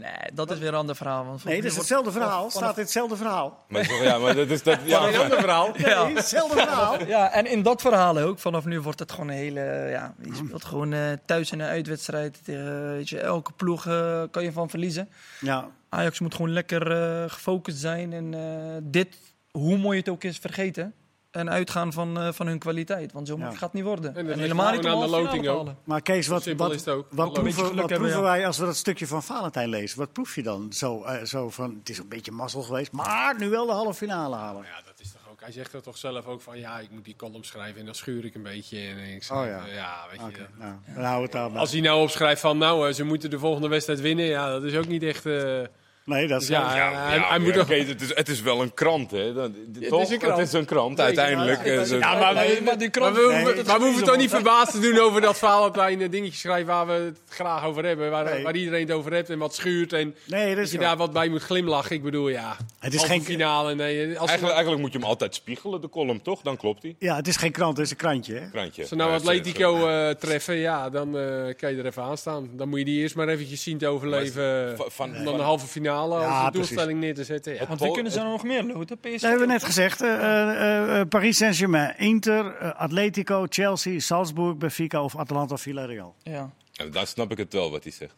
[SPEAKER 4] Nee, dat is weer een ander verhaal. Want
[SPEAKER 1] Nee, dat is
[SPEAKER 4] wordt-
[SPEAKER 1] hetzelfde verhaal.
[SPEAKER 4] vanaf-
[SPEAKER 1] Staat in hetzelfde verhaal.
[SPEAKER 2] (laughs)
[SPEAKER 3] Maar, zo- ja, maar dat is dat. Ja,
[SPEAKER 2] Een ander verhaal.
[SPEAKER 4] Ja.
[SPEAKER 1] Nee, hetzelfde verhaal.
[SPEAKER 2] (laughs)
[SPEAKER 4] Ja, en in dat verhaal ook. Vanaf nu wordt het gewoon een hele... Ja, je speelt gewoon eh, thuis en een uitwedstrijd. tegen, weet je, elke ploeg eh, kan je van verliezen.
[SPEAKER 1] Ja,
[SPEAKER 4] Ajax moet gewoon lekker eh, gefocust zijn. En eh, dit, hoe mooi het ook is, vergeten. En uitgaan van, eh, van hun kwaliteit. Want zo
[SPEAKER 1] Ja.
[SPEAKER 4] moeilijk gaat het niet worden.
[SPEAKER 2] dat
[SPEAKER 4] En,
[SPEAKER 2] ligt
[SPEAKER 4] helemaal niet om
[SPEAKER 2] gewoon aan
[SPEAKER 4] halve
[SPEAKER 2] de
[SPEAKER 4] finale te
[SPEAKER 2] loting ook.
[SPEAKER 4] halen.
[SPEAKER 1] maar Kees, wat,
[SPEAKER 2] simpel
[SPEAKER 1] wat,
[SPEAKER 2] is het ook.
[SPEAKER 1] wat
[SPEAKER 2] Een beetje
[SPEAKER 1] proeven,
[SPEAKER 4] geluk
[SPEAKER 1] wat
[SPEAKER 4] hebben,
[SPEAKER 1] proeven
[SPEAKER 4] ja.
[SPEAKER 1] wij als we dat stukje van Valentijn lezen? Wat proef je dan? Zo, eh, zo van, het is een beetje mazzel geweest, maar nu wel de halve finale halen.
[SPEAKER 2] Ja, dat is toch ook. Hij zegt er toch zelf ook van ja, ik moet die column schrijven en dan schuur ik een beetje. En ik zeg,
[SPEAKER 1] Oh ja.
[SPEAKER 2] eh, weet je.
[SPEAKER 1] Oké,
[SPEAKER 2] dat-
[SPEAKER 1] nou, dan houden we het daarbij.
[SPEAKER 2] Als hij nou opschrijft van nou, eh, ze moeten de volgende wedstrijd winnen, ja, dat is ook niet echt. eh,
[SPEAKER 1] Nee, dat is
[SPEAKER 2] ja,
[SPEAKER 1] ja,
[SPEAKER 2] hij- hij, moet
[SPEAKER 3] ja,
[SPEAKER 2] ook.
[SPEAKER 3] oké, het, is, het is wel een krant, hè? Dan,
[SPEAKER 2] is
[SPEAKER 3] toch?
[SPEAKER 2] een krant.
[SPEAKER 3] Het is een krant,
[SPEAKER 2] Zeker,
[SPEAKER 3] uiteindelijk.
[SPEAKER 2] ja.
[SPEAKER 3] eh, ze-
[SPEAKER 2] Ja, maar,
[SPEAKER 4] Nee,
[SPEAKER 2] we,
[SPEAKER 4] maar die krant-
[SPEAKER 2] maar we hoeven,
[SPEAKER 1] Nee,
[SPEAKER 2] maar
[SPEAKER 1] dat
[SPEAKER 2] we hoeven
[SPEAKER 1] is
[SPEAKER 2] toch niet verbaasd te doen over dat Valentijn een dingetje schrijft waar we het graag over hebben. Waar,
[SPEAKER 1] Nee.
[SPEAKER 2] waar iedereen het over heeft en wat schuurt. En
[SPEAKER 1] Nee, dat
[SPEAKER 2] dat
[SPEAKER 1] is
[SPEAKER 2] je
[SPEAKER 1] zo.
[SPEAKER 2] daar wat bij moet glimlachen. Ik bedoel, ja.
[SPEAKER 1] Het is
[SPEAKER 2] halve
[SPEAKER 1] geen-
[SPEAKER 2] finale. Nee, eh, als ze,
[SPEAKER 3] eigenlijk, eigenlijk moet je hem altijd spiegelen, de column, toch? Dan klopt hij.
[SPEAKER 1] ja, het is geen krant, het is een krantje. Hè?
[SPEAKER 3] Krantje.
[SPEAKER 2] als ze nou
[SPEAKER 3] Ja,
[SPEAKER 2] Atletico eh, treffen, ja, dan eh, kan je er even aan staan. Dan moet je die eerst maar eventjes zien te overleven. eh,
[SPEAKER 3] van- van-
[SPEAKER 2] om dan de halve finale
[SPEAKER 1] Ja,
[SPEAKER 2] als de
[SPEAKER 1] precies.
[SPEAKER 2] doelstelling neer te zetten. Ja.
[SPEAKER 4] Want wie kunnen ze er nog meer loten? PSV?
[SPEAKER 1] Dat hebben we net gezegd. eh, eh, eh, Paris Saint-Germain, Inter, eh, Atletico, Chelsea, Salzburg, Benfica of Atalanta Villarreal.
[SPEAKER 4] Ja.
[SPEAKER 3] En daar snap ik het wel wat hij zegt.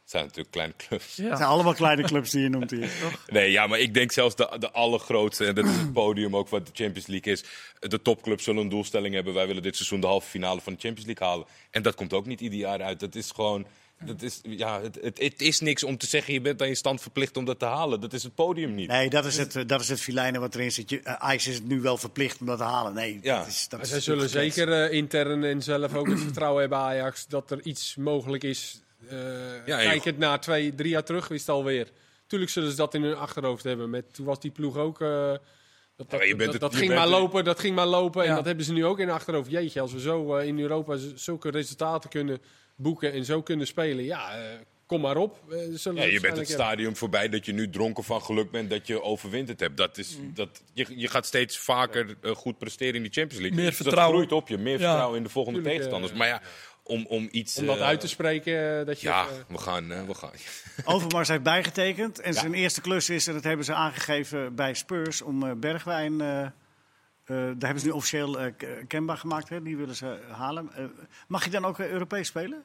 [SPEAKER 3] Het zijn natuurlijk kleine clubs.
[SPEAKER 1] Het
[SPEAKER 4] Ja.
[SPEAKER 1] zijn allemaal kleine clubs die je noemt hier. (laughs)
[SPEAKER 3] Nee, ja, maar ik denk zelfs de, de allergrootste, en dat is het podium ook wat de Champions League is. De topclubs zullen een doelstelling hebben. Wij willen dit seizoen de halve finale van de Champions League halen. En dat komt ook niet ieder jaar uit. Dat is gewoon. Dat is, ja, het, het, het is niks om te zeggen, je bent aan je stand verplicht om dat te halen. Dat is het podium niet.
[SPEAKER 1] Nee, dat is het, eh, dat is het filijnen wat erin zit. Je- eh, Ajax is het nu wel verplicht om dat te halen. Nee,
[SPEAKER 3] Ja.
[SPEAKER 1] dat is, dat
[SPEAKER 2] Maar
[SPEAKER 1] is
[SPEAKER 2] zij zullen
[SPEAKER 1] natuurlijk
[SPEAKER 2] zeker (laughs) eh, intern en zelf ook het vertrouwen hebben, Ajax, dat er iets mogelijk is. Eh
[SPEAKER 3] Ja,
[SPEAKER 2] kijk
[SPEAKER 3] joh.
[SPEAKER 2] het na twee, drie jaar terug, is het alweer. Tuurlijk zullen ze dat in hun achterhoofd hebben. Met, toen was die ploeg ook. eh, dat, dat,
[SPEAKER 3] maar je bent het-
[SPEAKER 2] dat- dat
[SPEAKER 3] je
[SPEAKER 2] ging
[SPEAKER 3] bent
[SPEAKER 2] maar
[SPEAKER 3] het-
[SPEAKER 2] lopen, dat ging maar lopen. En
[SPEAKER 4] Ja.
[SPEAKER 2] dat hebben ze nu ook in hun achterhoofd. Jeetje, als we zo eh, in Europa z- zulke resultaten kunnen boeken en zo kunnen spelen. Ja, eh, kom maar op. eh, zullen ze
[SPEAKER 3] Ja, je bent
[SPEAKER 2] waarschijnlijk
[SPEAKER 3] het
[SPEAKER 2] hebben.
[SPEAKER 3] stadium voorbij dat je nu dronken van geluk bent dat je overwinterd hebt. Dat is, dat, je, je gaat steeds vaker eh, goed presteren in die Champions League.
[SPEAKER 4] Meer
[SPEAKER 3] Dus
[SPEAKER 4] vertrouwen.
[SPEAKER 3] Dat groeit op je, meer
[SPEAKER 4] Ja.
[SPEAKER 3] vertrouwen in de volgende
[SPEAKER 2] Tuurlijk, eh,
[SPEAKER 3] tegenstanders. maar ja, om, om iets...
[SPEAKER 2] Om dat
[SPEAKER 3] eh,
[SPEAKER 2] uit te spreken, eh, dat je.
[SPEAKER 3] Ja,
[SPEAKER 2] eh,
[SPEAKER 3] we gaan... eh, we gaan.
[SPEAKER 1] Overmars heeft bijgetekend. En
[SPEAKER 3] Ja.
[SPEAKER 1] zijn eerste klus is, en dat hebben ze aangegeven bij Spurs, om eh, Bergwijn. eh, eh, daar hebben ze nu officieel eh, k- kenbaar gemaakt. Hè? Die willen ze halen. Eh, mag je dan ook eh, Europees spelen?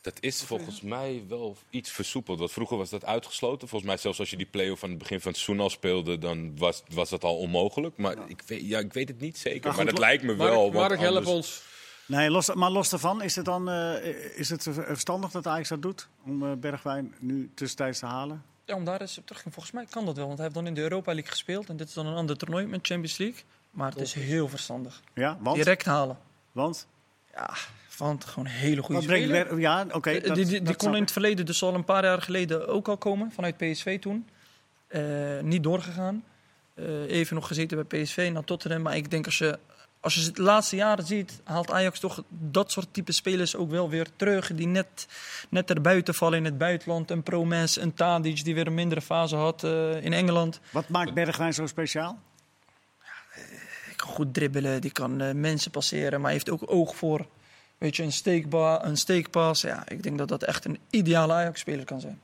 [SPEAKER 3] Dat is volgens mij wel iets versoepeld. Want vroeger was dat uitgesloten. Volgens mij zelfs als je die play-off aan het begin van het seizoen al speelde, dan was, was dat al onmogelijk. Maar ik, weet, ja, ik weet het niet zeker.
[SPEAKER 1] Maar
[SPEAKER 3] Maar,
[SPEAKER 1] goed,
[SPEAKER 3] dat
[SPEAKER 1] wa-
[SPEAKER 3] lijkt me
[SPEAKER 2] Mark,
[SPEAKER 3] wel.
[SPEAKER 2] Mark,
[SPEAKER 3] want
[SPEAKER 2] help
[SPEAKER 3] anders-
[SPEAKER 2] ons.
[SPEAKER 1] Nee, los, maar los daarvan, is het dan eh, is het ver- verstandig dat Ajax dat doet? Om eh, Bergwijn nu tussentijds te halen?
[SPEAKER 4] Ja, om daar eens op terug te gaan. Volgens mij kan dat wel, want hij heeft dan in de Europa League gespeeld. En dit is dan een ander toernooi met Champions League. Maar het is heel verstandig.
[SPEAKER 1] Ja, want?
[SPEAKER 4] Direct halen.
[SPEAKER 1] want
[SPEAKER 4] Ja, want gewoon een hele goede
[SPEAKER 1] wat brengt
[SPEAKER 4] speler.
[SPEAKER 1] Berg, Ja, oké.
[SPEAKER 4] Eh,
[SPEAKER 1] dat-
[SPEAKER 4] die die, die
[SPEAKER 1] dat
[SPEAKER 4] kon
[SPEAKER 1] snap
[SPEAKER 4] in
[SPEAKER 1] ik.
[SPEAKER 4] het verleden dus al een paar jaar geleden ook al komen, vanuit PSV toen. Eh, niet doorgegaan. Eh, even nog gezeten bij PSV, naar Tottenham. Maar ik denk als je, als je de laatste jaren ziet, haalt Ajax toch dat soort type spelers ook wel weer terug. Die net, net erbuiten vallen in het buitenland. Een Promes, een Tadic die weer een mindere fase had eh, in Engeland.
[SPEAKER 1] Wat maakt Bergwijn zo speciaal?
[SPEAKER 4] Die kan goed dribbelen, die kan eh, mensen passeren, maar heeft ook oog voor weet je, een, steekba een steekpas. Ja, ik denk dat dat echt een ideale Ajax-speler kan zijn.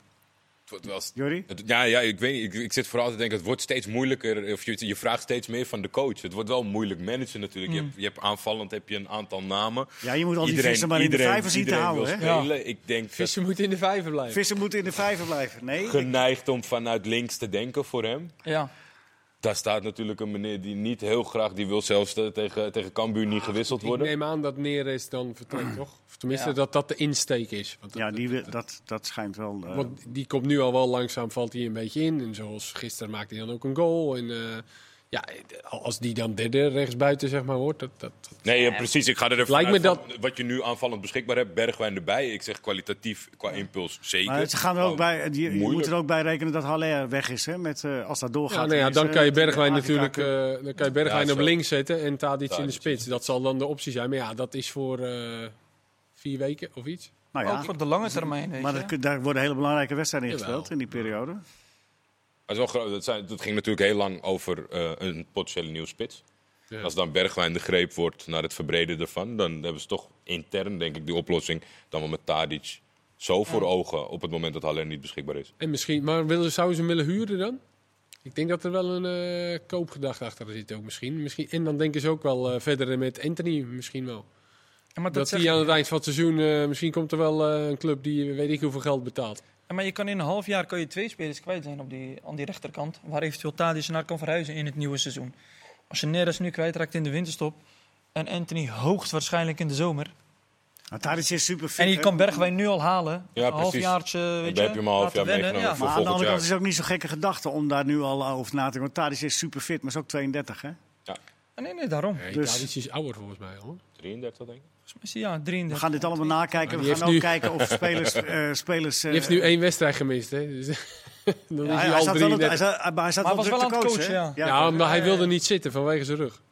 [SPEAKER 3] Het wordt wel st-
[SPEAKER 1] Jordi?
[SPEAKER 3] Het- ja, ja, ik weet niet. Ik, ik zit vooral te denken, het wordt steeds moeilijker. Of je, je vraagt steeds meer van de coach. Het wordt wel moeilijk managen natuurlijk. Je, hebt, je hebt aanvallend heb je een aantal namen.
[SPEAKER 1] Ja, je moet al die vissen maar in de vijver zien te
[SPEAKER 3] iedereen
[SPEAKER 1] houden,
[SPEAKER 3] wil
[SPEAKER 1] hè?
[SPEAKER 3] spelen. Ik denk dat
[SPEAKER 2] Vissen moet in de vijver blijven.
[SPEAKER 1] Vissen moeten in de vijver blijven. Nee,
[SPEAKER 3] geneigd om vanuit links te denken voor hem.
[SPEAKER 4] Ja,
[SPEAKER 3] Daar staat natuurlijk een meneer die niet heel graag... die wil zelfs eh, tegen, tegen Cambuur niet gewisseld worden.
[SPEAKER 2] Ik neem aan dat Neres dan vertrekt, toch? Of tenminste,
[SPEAKER 4] Ja.
[SPEAKER 2] dat dat de insteek is. Want, dat-
[SPEAKER 1] Ja, die, we- dat, dat schijnt wel. eh,
[SPEAKER 2] want die komt nu al wel langzaam, valt hij een beetje in. En zoals gisteren maakte hij dan ook een goal. En eh, Ja, als die dan derde rechtsbuiten zeg maar, wordt, dat, dat,
[SPEAKER 3] Nee, ja, precies. Ik ga er even
[SPEAKER 2] Lijkt me
[SPEAKER 3] vanuit van wat je nu aanvallend beschikbaar hebt. Bergwijn erbij. Ik zeg kwalitatief qua impuls zeker. Oh.
[SPEAKER 1] Maar ze gaan er
[SPEAKER 2] Oh,
[SPEAKER 1] ook
[SPEAKER 3] Gewoon
[SPEAKER 1] bij, je, je moet
[SPEAKER 3] moeilijk.
[SPEAKER 1] er ook bij rekenen dat Haller weg is. Hè, met, eh, als dat doorgaat.
[SPEAKER 2] Ja, nou ja,
[SPEAKER 1] is,
[SPEAKER 2] dan
[SPEAKER 1] eh,
[SPEAKER 2] kan je
[SPEAKER 1] met, eh,
[SPEAKER 2] Bergwijn
[SPEAKER 1] Afrika
[SPEAKER 2] natuurlijk
[SPEAKER 1] Cup.
[SPEAKER 2] eh, dan kan je Bergwijn
[SPEAKER 3] Ja,
[SPEAKER 2] op
[SPEAKER 3] zo.
[SPEAKER 2] links zetten en Tadic in de
[SPEAKER 3] Tadic.
[SPEAKER 2] spits. Dat zal dan de optie zijn. Maar ja, dat is voor eh, vier weken of iets.
[SPEAKER 3] Ah,
[SPEAKER 1] nou ja,
[SPEAKER 4] Ook voor de lange termijn. Weet
[SPEAKER 1] maar
[SPEAKER 4] je.
[SPEAKER 1] dat- daar worden hele belangrijke wedstrijden in
[SPEAKER 2] Jawel.
[SPEAKER 1] gespeeld in die periode.
[SPEAKER 3] Maar het is wel gro- dat, zijn, dat ging natuurlijk heel lang over eh, een potentiële nieuwe spits.
[SPEAKER 2] Ja.
[SPEAKER 3] Als dan Bergwijn de greep wordt naar het verbreden ervan, dan hebben ze toch intern, denk ik, die oplossing dan wel met Tadic zo voor ogen op het moment dat Haller niet beschikbaar is.
[SPEAKER 2] En misschien, maar willen, zouden ze hem willen huren dan? Ik denk dat er wel een eh koopgedachte achter zit ook misschien. misschien. En dan denken ze ook wel eh, verder met Anthony misschien wel.
[SPEAKER 4] Ja, maar, dat
[SPEAKER 2] Dat
[SPEAKER 4] zeg,
[SPEAKER 2] hij aan het eind van het seizoen, eh, misschien komt er wel eh, een club die weet ik hoeveel geld betaalt.
[SPEAKER 4] ja, maar je kan in een half jaar kan je twee spelers kwijt zijn op die, aan die rechterkant. Waar eventueel Tadic naar kan verhuizen in het nieuwe seizoen. Als je Neres nu kwijtraakt in de winterstop. En Anthony hoogstwaarschijnlijk in de zomer.
[SPEAKER 1] Nou, Tadic is super fit.
[SPEAKER 4] En je
[SPEAKER 1] hè.
[SPEAKER 4] kan Bergwijn nu al halen.
[SPEAKER 3] Ja, precies.
[SPEAKER 4] een halfjaartje, weet je.
[SPEAKER 3] dan heb je hem een half
[SPEAKER 4] laten
[SPEAKER 3] jaar
[SPEAKER 4] wennen,
[SPEAKER 3] meegenomen
[SPEAKER 1] Maar aan de
[SPEAKER 3] volgend
[SPEAKER 1] andere
[SPEAKER 3] jaar.
[SPEAKER 1] kant is het ook niet zo'n gekke gedachte om daar nu al over na te denken. Want Tadic is super fit, maar is ook 32. Hè?
[SPEAKER 4] Ja. Nee, nee, daarom.
[SPEAKER 2] Nee,
[SPEAKER 1] Dus- Eh,
[SPEAKER 2] Tadic is ouder volgens mij hoor.
[SPEAKER 3] 33, denk ik.
[SPEAKER 4] Volgens mij is hij, ja,
[SPEAKER 1] We
[SPEAKER 4] 33.
[SPEAKER 1] gaan dit allemaal
[SPEAKER 2] Maar
[SPEAKER 1] nakijken.
[SPEAKER 2] die
[SPEAKER 1] We gaan
[SPEAKER 2] heeft
[SPEAKER 1] ook
[SPEAKER 2] nu-
[SPEAKER 1] kijken
[SPEAKER 2] (laughs)
[SPEAKER 1] of spelers. eh, spelers
[SPEAKER 2] Die heeft nu één wedstrijd gemist hè. Dus, (laughs) dan is
[SPEAKER 1] Ja,
[SPEAKER 2] hij
[SPEAKER 1] hij
[SPEAKER 2] al
[SPEAKER 1] zat eh, wel op-
[SPEAKER 2] 33.
[SPEAKER 1] hij zat- maar hij zat
[SPEAKER 4] Maar
[SPEAKER 1] wel
[SPEAKER 4] hij
[SPEAKER 1] druk
[SPEAKER 4] was wel
[SPEAKER 1] te
[SPEAKER 4] aan het
[SPEAKER 1] coachen,
[SPEAKER 4] coachen,
[SPEAKER 1] hè?
[SPEAKER 2] Ja, maar hij wilde niet zitten vanwege zijn rug.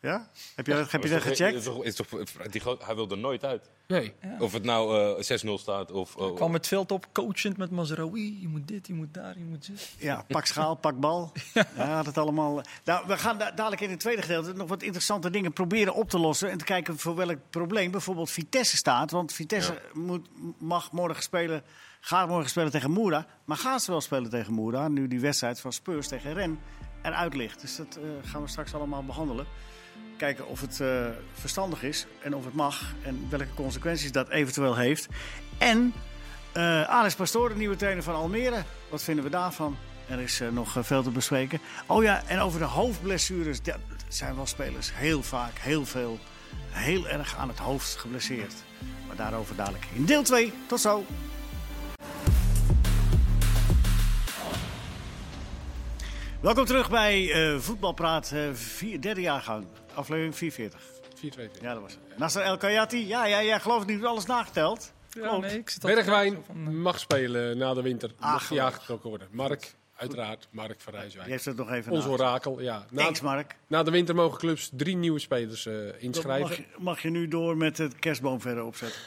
[SPEAKER 1] Ja? Heb je, heb je dat
[SPEAKER 3] Is toch- is
[SPEAKER 1] gecheckt?
[SPEAKER 3] toch- is toch- die goot- hij wil er nooit uit.
[SPEAKER 2] Nee.
[SPEAKER 3] Of het nou eh, 6-0 staat of... eh,
[SPEAKER 4] kwam het veld op, coachend met Mazraoui. Je moet dit, je moet daar, je moet zus.
[SPEAKER 1] Ja, pak schaal, pak bal. Ja, dat allemaal. Nou, we gaan da- dadelijk in het tweede gedeelte nog wat interessante dingen proberen op te lossen. En te kijken voor welk probleem bijvoorbeeld Vitesse staat. Want Vitesse moet, mag morgen spelen, gaat morgen spelen tegen Moera. Maar gaan ze wel spelen tegen Moera? Nu die wedstrijd van Spurs tegen Ren eruit ligt. Dus dat eh, gaan we straks allemaal behandelen. kijken of het eh, verstandig is en of het mag en welke consequenties dat eventueel heeft. En eh Alex Pastoor, de nieuwe trainer van Almere, wat vinden we daarvan? Er is eh, nog eh, veel te bespreken. Oh ja, en over de hoofdblessures. Dat zijn wel spelers heel vaak, heel veel, heel erg aan het hoofd geblesseerd. Maar daarover dadelijk in deel 2. Tot zo. Welkom terug bij eh Voetbalpraat, eh, vier, derde jaargang, aflevering 44.
[SPEAKER 2] 4-2.
[SPEAKER 1] Ja, dat was het. Nasser El Kayati, ja, ja, ja, geloof ik, nu alles nageteld.
[SPEAKER 4] Ja, nee, ik zit altijd zo
[SPEAKER 2] Bergwijn
[SPEAKER 4] van, eh,
[SPEAKER 2] mag spelen na de winter.
[SPEAKER 1] Ah,
[SPEAKER 2] mag hij
[SPEAKER 1] gelukkig.
[SPEAKER 2] aangetrokken worden. Mark, uiteraard. Mark van
[SPEAKER 1] Je
[SPEAKER 2] Rijswijk.
[SPEAKER 1] heeft het nog even
[SPEAKER 2] Ons
[SPEAKER 1] na.
[SPEAKER 2] orakel, ja. Na,
[SPEAKER 1] Thanks, Mark.
[SPEAKER 2] na de winter mogen clubs drie nieuwe spelers eh,
[SPEAKER 1] Dat Mag
[SPEAKER 2] inschrijven.
[SPEAKER 1] je, mag je nu door met het kerstboom verder opzetten?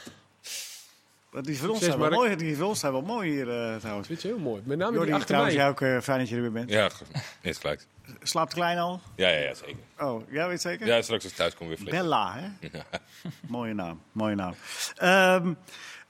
[SPEAKER 1] Want die is voor ons
[SPEAKER 2] Succes,
[SPEAKER 1] zijn wel
[SPEAKER 2] Mark.
[SPEAKER 1] mooi. Die voor ons zijn wel mooi hier eh, trouwens.
[SPEAKER 2] Vind je heel mooi. Met name die
[SPEAKER 1] Jordi,
[SPEAKER 2] achter mij.
[SPEAKER 1] trouwens, jij ook eh, fijn dat je er weer bent.
[SPEAKER 3] Ja, (laughs) ge- is gelijk.
[SPEAKER 1] Slaapt klein al?
[SPEAKER 3] Ja, ja, ja, zeker.
[SPEAKER 1] Oh, jij weet zeker?
[SPEAKER 3] Ja, straks als ik thuis kom weer flink.
[SPEAKER 1] Bella, hè?
[SPEAKER 3] (laughs)
[SPEAKER 1] mooie naam, mooie naam. Ehm,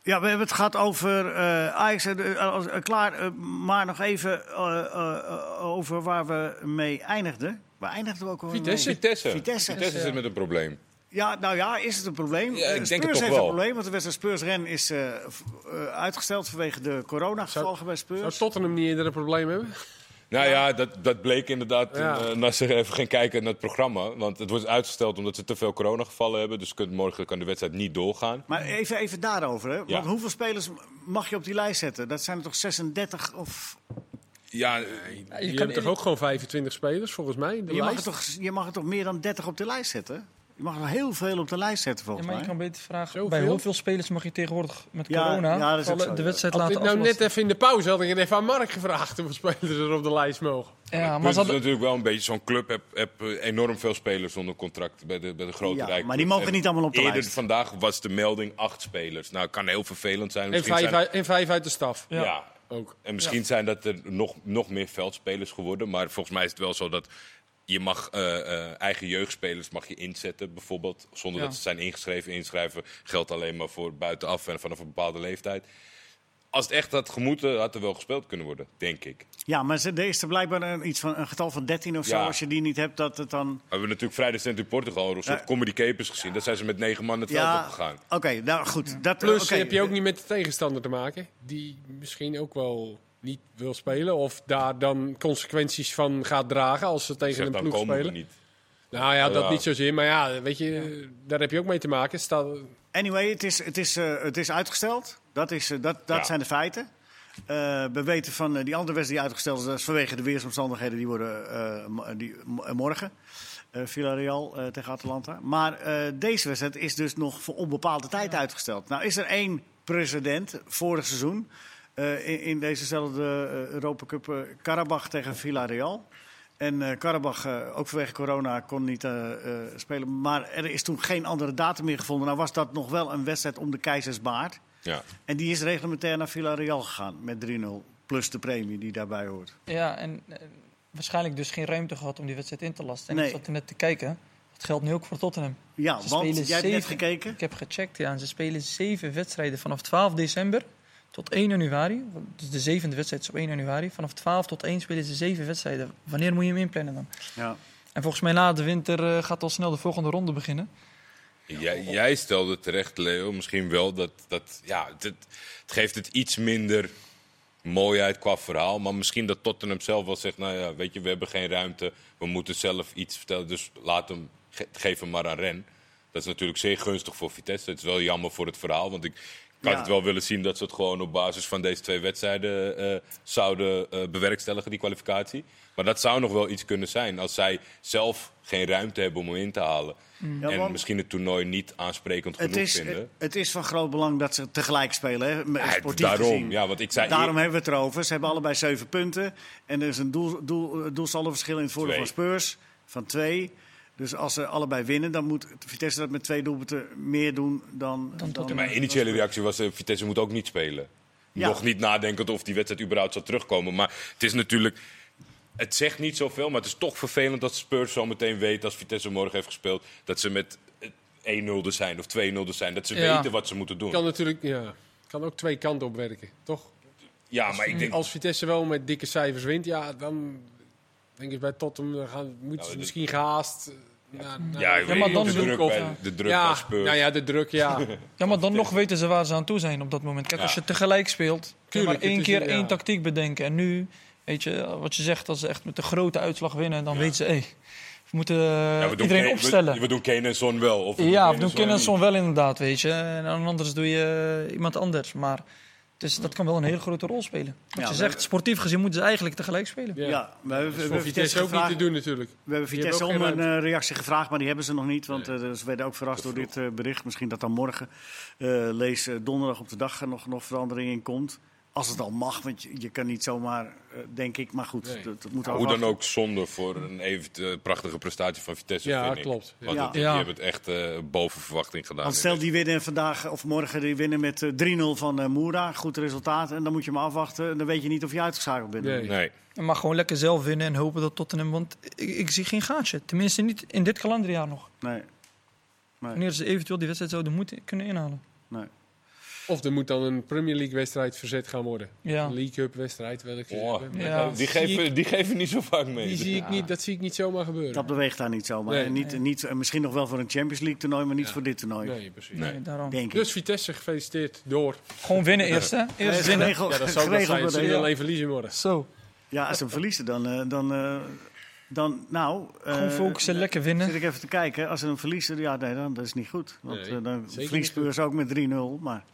[SPEAKER 1] ja, we hebben het gehad over eh Ajax. en, eh, als- eh, klaar, eh, maar nog even eh, eh, eh, over waar we mee eindigden. Waar eindigden we ook alweer mee?
[SPEAKER 2] Vitesse.
[SPEAKER 3] Vitesse.
[SPEAKER 1] Vitesse.
[SPEAKER 3] Vitesse zit met een probleem.
[SPEAKER 1] Ja, nou ja, is het een probleem?
[SPEAKER 3] Ja, ik
[SPEAKER 1] Eh,
[SPEAKER 3] denk het
[SPEAKER 1] Spurs
[SPEAKER 3] toch
[SPEAKER 1] heeft
[SPEAKER 3] wel.
[SPEAKER 1] een probleem, want de wedstrijd Spurs-Ren is eh, v- eh, uitgesteld vanwege de coronagevolgen bij
[SPEAKER 2] Zou
[SPEAKER 1] Spurs.
[SPEAKER 2] Nou, Tottenham niet eerder een probleem hebben?
[SPEAKER 3] Nou ja, dat, dat bleek inderdaad
[SPEAKER 2] Ja.
[SPEAKER 3] toen eh, Nasser even ging kijken naar het programma. Want het wordt uitgesteld omdat ze te veel coronagevallen hebben. Dus kunt, morgen kan de wedstrijd niet doorgaan.
[SPEAKER 1] Maar even, even daarover, hè? Want
[SPEAKER 3] Ja.
[SPEAKER 1] hoeveel spelers mag je op die lijst zetten? Dat zijn er toch 36 of...
[SPEAKER 3] Ja,
[SPEAKER 1] eh,
[SPEAKER 4] je
[SPEAKER 2] je
[SPEAKER 4] kan
[SPEAKER 2] hebt toch
[SPEAKER 4] in-
[SPEAKER 2] ook gewoon 25 spelers, volgens mij? in De
[SPEAKER 1] Je mag, er
[SPEAKER 2] lijst?
[SPEAKER 1] toch, je mag er toch meer dan 30 op de lijst zetten? Je mag er heel veel op de lijst zetten,
[SPEAKER 4] Ja,
[SPEAKER 1] volgens
[SPEAKER 4] maar je
[SPEAKER 1] mij.
[SPEAKER 4] kan beter vragen,
[SPEAKER 2] Zoveel?
[SPEAKER 4] bij hoeveel spelers mag je tegenwoordig met
[SPEAKER 1] Ja,
[SPEAKER 4] corona
[SPEAKER 1] ja, dat is ook
[SPEAKER 4] alle-
[SPEAKER 1] zo,
[SPEAKER 4] de
[SPEAKER 1] ja.
[SPEAKER 4] wedstrijd
[SPEAKER 2] Had
[SPEAKER 4] laten
[SPEAKER 2] dit nou
[SPEAKER 4] aflossen?
[SPEAKER 2] net even in de pauze, had ik het even aan Mark gevraagd hoeveel spelers er op de lijst mogen.
[SPEAKER 4] Ja,
[SPEAKER 3] het
[SPEAKER 4] maar
[SPEAKER 3] punt
[SPEAKER 4] ze
[SPEAKER 3] is
[SPEAKER 4] hadden-
[SPEAKER 3] natuurlijk wel een beetje zo'n club. Heb, heb eh, enorm veel spelers zonder contract bij de, bij de grote
[SPEAKER 1] Ja,
[SPEAKER 3] rijke
[SPEAKER 1] maar die
[SPEAKER 3] clubs.
[SPEAKER 1] mogen
[SPEAKER 3] En
[SPEAKER 1] niet allemaal op de
[SPEAKER 3] eerder
[SPEAKER 1] lijst.
[SPEAKER 3] vandaag was de melding acht spelers. Nou, kan heel vervelend zijn.
[SPEAKER 2] En
[SPEAKER 3] Misschien
[SPEAKER 2] vijf,
[SPEAKER 3] zijn
[SPEAKER 2] uit, en vijf uit de staf.
[SPEAKER 4] Ja.
[SPEAKER 3] ja,
[SPEAKER 2] Ook.
[SPEAKER 3] En misschien zijn dat er nog, nog meer veldspelers geworden. Maar volgens mij is het wel zo dat je mag eh, eh, eigen jeugdspelers mag je inzetten, bijvoorbeeld. Zonder
[SPEAKER 4] Ja.
[SPEAKER 3] dat ze zijn ingeschreven. Inschrijven geldt alleen maar voor buitenaf en vanaf een bepaalde leeftijd. Als het echt had gemoeten, had er wel gespeeld kunnen worden, denk ik.
[SPEAKER 1] Ja, maar ze- er is er blijkbaar een, iets van, een getal van 13 of zo.
[SPEAKER 3] Ja.
[SPEAKER 1] Als je die niet hebt, dat het dan...
[SPEAKER 3] We hebben natuurlijk vrijdag Cent in Portugal een soort
[SPEAKER 1] Ja.
[SPEAKER 3] comedy capers gezien. Daar zijn ze met negen man het veld
[SPEAKER 1] Ja,
[SPEAKER 3] opgegaan.
[SPEAKER 1] oké, nou goed. Dat,
[SPEAKER 2] Plus
[SPEAKER 1] oké.
[SPEAKER 2] heb je ook niet met de tegenstander te maken, die misschien ook wel niet wil spelen of daar dan consequences van gaat dragen als ze tegen
[SPEAKER 3] Zeg,
[SPEAKER 2] een
[SPEAKER 3] dan
[SPEAKER 2] ploeg
[SPEAKER 3] komen we
[SPEAKER 2] spelen.
[SPEAKER 3] niet.
[SPEAKER 2] Nou ja, dat
[SPEAKER 3] Ja.
[SPEAKER 2] niet zozeer, maar ja, weet je, daar heb je ook mee te maken. Sta,
[SPEAKER 1] Anyway, het is, het is, eh, het is uitgesteld. Dat, is, eh, dat, dat
[SPEAKER 3] Ja.
[SPEAKER 1] zijn de feiten. Eh, we weten van eh, die andere wedstrijd die uitgesteld is, dat is vanwege de weersomstandigheden, die worden eh, mo- die, mo- eh, morgen. eh Villarreal eh, tegen Atalanta. Maar eh, deze wedstrijd is dus nog voor onbepaalde tijd uitgesteld. Nou is er één precedent vorig seizoen eh, in, in dezezelfde eh, Europa Cup eh, Karabach tegen Villarreal. En eh Karabach, eh, ook vanwege corona, kon niet eh, eh, spelen. Maar er is toen geen andere datum meer gevonden. Nou was dat nog wel een wedstrijd om de keizersbaard.
[SPEAKER 3] Ja.
[SPEAKER 1] En die is reglementair naar Villarreal gegaan met 3-0. Plus de premie die daarbij hoort.
[SPEAKER 4] Ja, en eh, waarschijnlijk dus geen ruimte gehad om die wedstrijd in te lasten. En
[SPEAKER 1] Nee.
[SPEAKER 4] ik zat er net te kijken. Dat geldt nu ook voor Tottenham.
[SPEAKER 1] Ja,
[SPEAKER 4] Ze
[SPEAKER 1] want
[SPEAKER 4] spelen
[SPEAKER 1] jij hebt net
[SPEAKER 4] zeven.
[SPEAKER 1] gekeken.
[SPEAKER 4] Ik heb gecheckt, ja. en Ze spelen zeven wedstrijden vanaf 12 december tot 1 januari. Dus de zevende wedstrijd is op 1 januari. Vanaf 12 tot 1 spelen ze zeven wedstrijden. Wanneer moet je hem inplannen dan?
[SPEAKER 1] Ja.
[SPEAKER 4] En volgens mij na de winter eh, gaat al snel de volgende ronde beginnen.
[SPEAKER 3] Jij, jij stelde terecht, Leo, misschien wel dat. dat ja, het, het geeft het iets minder mooi uit qua verhaal. Maar misschien dat Tottenham zelf wel zegt: Nou ja, weet je, we hebben geen ruimte. We moeten zelf iets vertellen. Dus laat hem, ge- geef hem maar aan Ren. Dat is natuurlijk zeer gunstig voor Vitesse. Het is wel jammer voor het verhaal. Want ik had
[SPEAKER 1] Ja.
[SPEAKER 3] het wel willen zien dat ze het gewoon op basis van deze twee wedstrijden eh, zouden eh, bewerkstelligen, die kwalificatie. Maar dat zou nog wel iets kunnen zijn als zij zelf geen ruimte hebben om hem in te halen.
[SPEAKER 1] Ja,
[SPEAKER 3] en
[SPEAKER 1] want-
[SPEAKER 3] misschien het toernooi niet aansprekend genoeg
[SPEAKER 1] Het is, eh,
[SPEAKER 3] vinden.
[SPEAKER 1] het is van groot belang dat ze tegelijk spelen, hè, me-
[SPEAKER 3] Ja, het-
[SPEAKER 1] sportief
[SPEAKER 3] daarom,
[SPEAKER 1] gezien.
[SPEAKER 3] ja, want ik zei
[SPEAKER 1] daarom
[SPEAKER 3] eer-
[SPEAKER 1] hebben we het erover. Ze hebben allebei zeven punten. En er is een doel, doel, eh, doelsaldoverschil in het voordeel
[SPEAKER 3] Twee.
[SPEAKER 1] van Spurs van twee. Dus als ze allebei winnen, dan moet Vitesse dat met twee doelpunten meer doen dan... dan,
[SPEAKER 4] Tottenham.
[SPEAKER 3] Mijn initiële reactie was: eh, Vitesse moet ook niet spelen.
[SPEAKER 1] Ja.
[SPEAKER 3] Nog niet nadenkend of die wedstrijd überhaupt zou terugkomen. Maar het is natuurlijk. Het zegt niet zoveel, maar het is toch vervelend dat Spurs zo meteen weet als Vitesse morgen heeft gespeeld. dat ze met eh, 1-0 er zijn of 2-0 er zijn. Dat ze
[SPEAKER 2] Ja.
[SPEAKER 3] weten wat ze moeten doen.
[SPEAKER 2] Kan natuurlijk ja, kan ook twee kanten op werken, toch?
[SPEAKER 3] ja, maar ik denk.
[SPEAKER 2] Als Vitesse wel met dikke cijfers wint, ja, dan denk ik bij Tottenham dan gaan, moeten
[SPEAKER 3] dat-
[SPEAKER 2] ze misschien gehaast. eh, naar- naar-
[SPEAKER 3] ja, ik weet
[SPEAKER 4] maar
[SPEAKER 3] niet,
[SPEAKER 4] dan
[SPEAKER 3] de
[SPEAKER 4] zoek
[SPEAKER 3] druk,
[SPEAKER 4] op,
[SPEAKER 3] bij,
[SPEAKER 4] ja.
[SPEAKER 3] de druk
[SPEAKER 2] ja,
[SPEAKER 3] bij Spurs.
[SPEAKER 2] Nou ja, de druk, ja.
[SPEAKER 4] Ja, maar dan nog weten ze waar ze aan toe zijn op dat moment. Kijk, als
[SPEAKER 3] Ja.
[SPEAKER 4] je tegelijk speelt, kun je
[SPEAKER 2] Tuurlijk,
[SPEAKER 4] maar één
[SPEAKER 2] het is een-
[SPEAKER 4] keer
[SPEAKER 2] ja.
[SPEAKER 4] één tactiek bedenken. En nu, weet je, wat je zegt, als ze echt met de grote uitslag winnen, dan weten ze, hey, we moeten eh,
[SPEAKER 3] Ja, we doen
[SPEAKER 4] iedereen
[SPEAKER 3] Kane- we-
[SPEAKER 4] opstellen.
[SPEAKER 3] We, doen Kane en Son dus wel. Of
[SPEAKER 4] ja, we doen
[SPEAKER 3] Son niet.
[SPEAKER 4] Kinderson wel inderdaad, weet je. En dan anders doe je eh, iemand anders. Maar dus dat kan wel een hele grote rol spelen. Wat
[SPEAKER 1] Ja,
[SPEAKER 4] je
[SPEAKER 1] we-
[SPEAKER 4] zegt, sportief gezien moeten ze eigenlijk tegelijk spelen.
[SPEAKER 1] Ja, we
[SPEAKER 2] ja.
[SPEAKER 1] hebben, we
[SPEAKER 2] Dat is
[SPEAKER 1] hebben
[SPEAKER 2] voor
[SPEAKER 1] Vitesse
[SPEAKER 2] Vitesse ook niet
[SPEAKER 1] gevraagd-
[SPEAKER 2] te doen natuurlijk.
[SPEAKER 1] We hebben
[SPEAKER 2] Die hebben
[SPEAKER 1] Vitesse
[SPEAKER 2] ook
[SPEAKER 1] om
[SPEAKER 2] geen
[SPEAKER 1] een eh, reactie gevraagd, maar die hebben ze nog niet. Want eh, ze werden ook verrast door dit eh, bericht. Misschien dat dan morgen, eh, lees eh, donderdag op de dag, eh, nog, nog verandering in komt. Als het al mag, want je, je kan niet zomaar, eh, denk ik. Maar goed,
[SPEAKER 2] Nee.
[SPEAKER 1] dat, dat moet
[SPEAKER 3] Hoe dan
[SPEAKER 1] afwachten.
[SPEAKER 3] ook zonde voor een even eh, prachtige prestatie van Vitesse.
[SPEAKER 2] Ja,
[SPEAKER 3] vind ik.
[SPEAKER 2] klopt.
[SPEAKER 3] Want
[SPEAKER 1] Ja.
[SPEAKER 3] het- die
[SPEAKER 4] Ja.
[SPEAKER 3] hebben het echt eh, boven verwachting gedaan.
[SPEAKER 1] Want stel die winnen vandaag of morgen die winnen met eh, 3-0 van eh Moera. Goed resultaat. En dan moet je maar afwachten. En dan weet je niet of je uitgeschakeld bent.
[SPEAKER 2] Nee.
[SPEAKER 3] Nee.
[SPEAKER 4] Maar gewoon lekker zelf winnen en hopen dat Tottenham... Want ik, ik zie geen gaatje. Tenminste niet in dit kalenderjaar nog.
[SPEAKER 1] Nee,
[SPEAKER 4] Wanneer ze eventueel die wedstrijd zouden moeten kunnen inhalen.
[SPEAKER 1] nee.
[SPEAKER 2] Of er moet dan een Premier League wedstrijd verzet gaan worden.
[SPEAKER 4] Ja.
[SPEAKER 2] Een League Cup wedstrijd, welke ze
[SPEAKER 3] Oh,
[SPEAKER 2] hebben.
[SPEAKER 4] Ja.
[SPEAKER 3] die, geven, die geven niet zo vaak mee.
[SPEAKER 2] Die zie ik niet, dat zie ik niet zomaar gebeuren.
[SPEAKER 1] Dat beweegt daar niet zomaar.
[SPEAKER 2] Nee.
[SPEAKER 1] En niet, niet, en misschien nog wel voor een Champions League toernooi, maar niet
[SPEAKER 2] Ja.
[SPEAKER 1] voor dit toernooi.
[SPEAKER 2] nee, precies.
[SPEAKER 3] Nee.
[SPEAKER 4] Nee, daarom.
[SPEAKER 1] Denk ik.
[SPEAKER 2] Dus Vitesse gefeliciteerd door.
[SPEAKER 4] Gewoon winnen eerst, hè?
[SPEAKER 1] Eh,
[SPEAKER 4] Eerst
[SPEAKER 1] is
[SPEAKER 4] winnen.
[SPEAKER 1] geregeld- (laughs)
[SPEAKER 2] Ja, dat zou ook wel
[SPEAKER 1] geregeld
[SPEAKER 2] zijn.
[SPEAKER 1] door
[SPEAKER 2] Ze
[SPEAKER 1] de-
[SPEAKER 2] willen
[SPEAKER 1] ja.
[SPEAKER 2] alleen verliezen morgen.
[SPEAKER 4] Zo.
[SPEAKER 1] Ja, als ze hem verliezen, dan. eh, dan, eh, dan nou. eh,
[SPEAKER 4] Gewoon focussen, lekker winnen.
[SPEAKER 1] Zit ik even te kijken. Als ze hem verliezen, ja, nee, dan dat is niet goed. Want
[SPEAKER 2] Nee,
[SPEAKER 1] eh, dan
[SPEAKER 2] zeker niet
[SPEAKER 1] verliest Spurs ook met 3-0. Maar.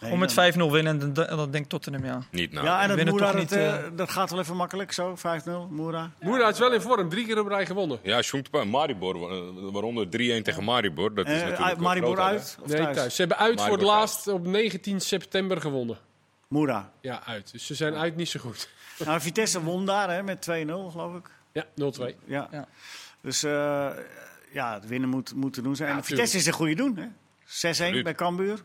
[SPEAKER 1] Nee,
[SPEAKER 4] Om met 5-0
[SPEAKER 1] dan-
[SPEAKER 4] winnen, en dan- en dat denkt Tottenham, ja.
[SPEAKER 3] Niet nou.
[SPEAKER 1] Ja, en dat
[SPEAKER 4] winnen
[SPEAKER 1] Moera,
[SPEAKER 4] toch
[SPEAKER 1] dat,
[SPEAKER 4] niet,
[SPEAKER 1] eh,
[SPEAKER 4] eh,
[SPEAKER 1] dat gaat wel even makkelijk zo. 5-0, Moera.
[SPEAKER 2] Moera is wel in vorm. Drie keer op rij gewonnen.
[SPEAKER 3] Ja, Sjoengtepa, Maribor, wa- eh, waaronder 3-1 tegen Maribor. Dat is
[SPEAKER 1] Eh,
[SPEAKER 3] natuurlijk wel
[SPEAKER 1] Maribor
[SPEAKER 3] groot, hè?
[SPEAKER 1] uit? Of
[SPEAKER 2] Nee, thuis.
[SPEAKER 1] thuis?
[SPEAKER 2] Ze hebben uit
[SPEAKER 3] Maar
[SPEAKER 2] voor het
[SPEAKER 3] ik word
[SPEAKER 2] laatst op 19 september gewonnen.
[SPEAKER 1] Moera.
[SPEAKER 2] Ja, uit. Dus ze zijn uit niet zo goed. (laughs)
[SPEAKER 1] Nou, Vitesse won daar hè, met 2-0, geloof ik.
[SPEAKER 2] Ja, 0-2.
[SPEAKER 1] Ja.
[SPEAKER 4] Ja.
[SPEAKER 1] Dus eh, ja, het winnen moet, moet te doen zijn. en
[SPEAKER 2] tuurlijk.
[SPEAKER 1] Vitesse is een goede doen. hè. 6-1
[SPEAKER 3] Absoluut.
[SPEAKER 1] bij Cambuur.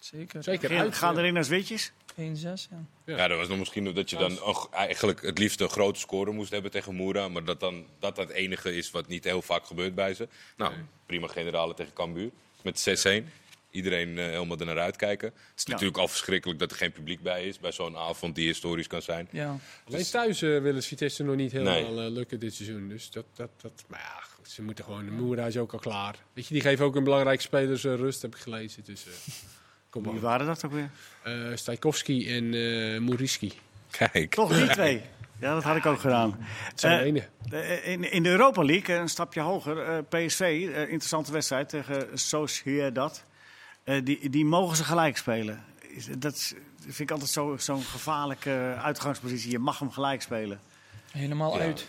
[SPEAKER 4] Zeker.
[SPEAKER 2] Zeker
[SPEAKER 1] Gaan,
[SPEAKER 2] Dus uit. eh,
[SPEAKER 1] gaan
[SPEAKER 2] ja.
[SPEAKER 1] erin als witjes.
[SPEAKER 4] 1-6, ja.
[SPEAKER 3] Ja, dat was nog misschien dat je dan ook eigenlijk het liefst een grote score moest hebben tegen Moera. Maar dat dan, dat dat enige is wat niet heel vaak gebeurt bij ze. Nou, prima generale tegen Cambuur. Met 6-1. Iedereen eh, helemaal er naar uitkijken. Het is
[SPEAKER 1] Ja.
[SPEAKER 3] natuurlijk al verschrikkelijk dat er geen publiek bij is. Bij zo'n avond die historisch kan zijn.
[SPEAKER 4] ja.
[SPEAKER 2] Alleen thuis eh, willen ze Vitesse nog niet helemaal
[SPEAKER 3] Nee.
[SPEAKER 2] eh, lukken dit seizoen. Dus dat, dat, dat, maar ja, goed, ze moeten gewoon... Moera is ook al klaar. Weet je, die geven ook een belangrijke spelers eh, rust, heb ik gelezen. Dus eh, kom
[SPEAKER 1] Wie
[SPEAKER 2] maar.
[SPEAKER 1] waren dat ook weer?
[SPEAKER 2] Eh Stajkowski en eh Moeriski.
[SPEAKER 3] Kijk.
[SPEAKER 1] Toch die twee. Ja, dat had ik ook gedaan.
[SPEAKER 2] Het zijn
[SPEAKER 1] Eh,
[SPEAKER 2] de ene.
[SPEAKER 1] Eh, In, in de Europa League, eh, een stapje hoger, eh, PSV, eh, interessante wedstrijd tegen Sociedad. Eh, die, die mogen ze gelijk spelen. Is- Dat is- vind ik altijd zo- zo'n gevaarlijke uitgangspositie. Je mag hem gelijk spelen.
[SPEAKER 4] Helemaal
[SPEAKER 3] Ja.
[SPEAKER 4] uit.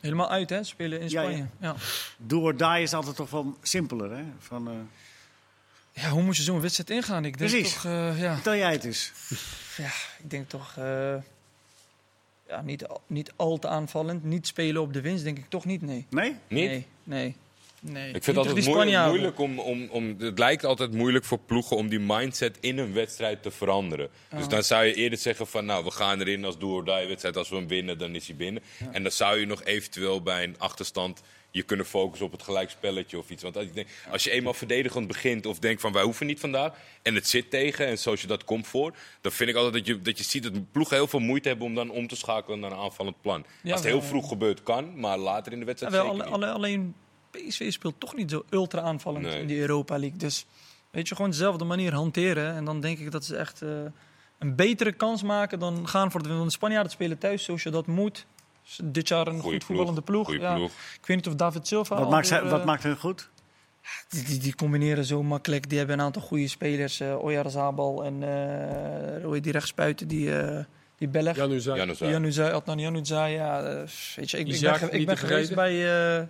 [SPEAKER 4] Helemaal uit, hè? Spelen in
[SPEAKER 1] Ja, ja.
[SPEAKER 4] Spanje. Ja, ja.
[SPEAKER 1] Do or die is altijd toch wel simpeler. Hè? Van, eh,
[SPEAKER 4] hoe moet je zo'n wedstrijd ingaan? Ik denk
[SPEAKER 1] Precies.
[SPEAKER 4] toch... eh, ja.
[SPEAKER 1] vertel jij het eens.
[SPEAKER 4] ja, ik denk toch... eh, ja, niet, al- niet al te aanvallend. Niet spelen op de winst, denk ik toch niet, nee.
[SPEAKER 1] Nee?
[SPEAKER 3] Niet?
[SPEAKER 4] Nee, nee. nee.
[SPEAKER 3] Ik vind het altijd moeilijk, moeilijk om, om, om. Het lijkt altijd moeilijk voor ploegen om die mindset in een wedstrijd te veranderen. Dus dan zou je eerder zeggen van nou, we gaan erin als do or die wedstrijd. Als we hem winnen, dan is hij binnen. En dan zou je nog eventueel bij een achterstand je kunnen focussen op het gelijkspelletje of iets. Want als, ik denk, als je eenmaal verdedigend begint of denkt van wij hoeven niet vandaag... en het zit tegen en zoals je dat komt voor... dan vind ik altijd dat je, dat je ziet dat ploegen heel veel moeite hebben... om dan om te schakelen naar een aanvallend plan.
[SPEAKER 4] Ja,
[SPEAKER 3] als het heel
[SPEAKER 4] wel.
[SPEAKER 3] vroeg gebeurt, kan. Maar later in de
[SPEAKER 4] Ja,
[SPEAKER 3] wedstrijd
[SPEAKER 4] wel,
[SPEAKER 3] zeker
[SPEAKER 4] alle,
[SPEAKER 3] niet.
[SPEAKER 4] alle- alleen PSV speelt toch niet zo ultra aanvallend
[SPEAKER 3] Nee.
[SPEAKER 4] in die Europa League. Dus weet je, gewoon dezelfde manier hanteren. En dan denk ik dat ze echt eh, een betere kans maken dan gaan voor de winst. Want de Spanjaarden spelen thuis zoals je dat moet. Dus dit jaar een
[SPEAKER 3] Goeie
[SPEAKER 4] goed
[SPEAKER 3] ploeg,
[SPEAKER 4] voetballende ploeg.
[SPEAKER 3] goeie
[SPEAKER 4] ja.
[SPEAKER 3] ploeg.
[SPEAKER 4] Ik weet niet of David Silva...
[SPEAKER 1] Wat
[SPEAKER 4] al
[SPEAKER 1] maakt,
[SPEAKER 4] weer,
[SPEAKER 1] zij-
[SPEAKER 4] eh,
[SPEAKER 1] wat maakt hun goed?
[SPEAKER 4] die, die, die combineren zo makkelijk. Die hebben een aantal goede spelers. eh Oyarzabal en eh hoe heet die rechtsbuiten, die, eh die Belg.
[SPEAKER 2] Jan Uzay.
[SPEAKER 3] Ja, nou zo.
[SPEAKER 4] Januzaj, Adnan Januzaj, ja, eh, weet je, ik, ik
[SPEAKER 2] Isaac
[SPEAKER 4] ben, ge-
[SPEAKER 2] niet
[SPEAKER 4] ik ben
[SPEAKER 2] te
[SPEAKER 4] geweest
[SPEAKER 2] vergeten.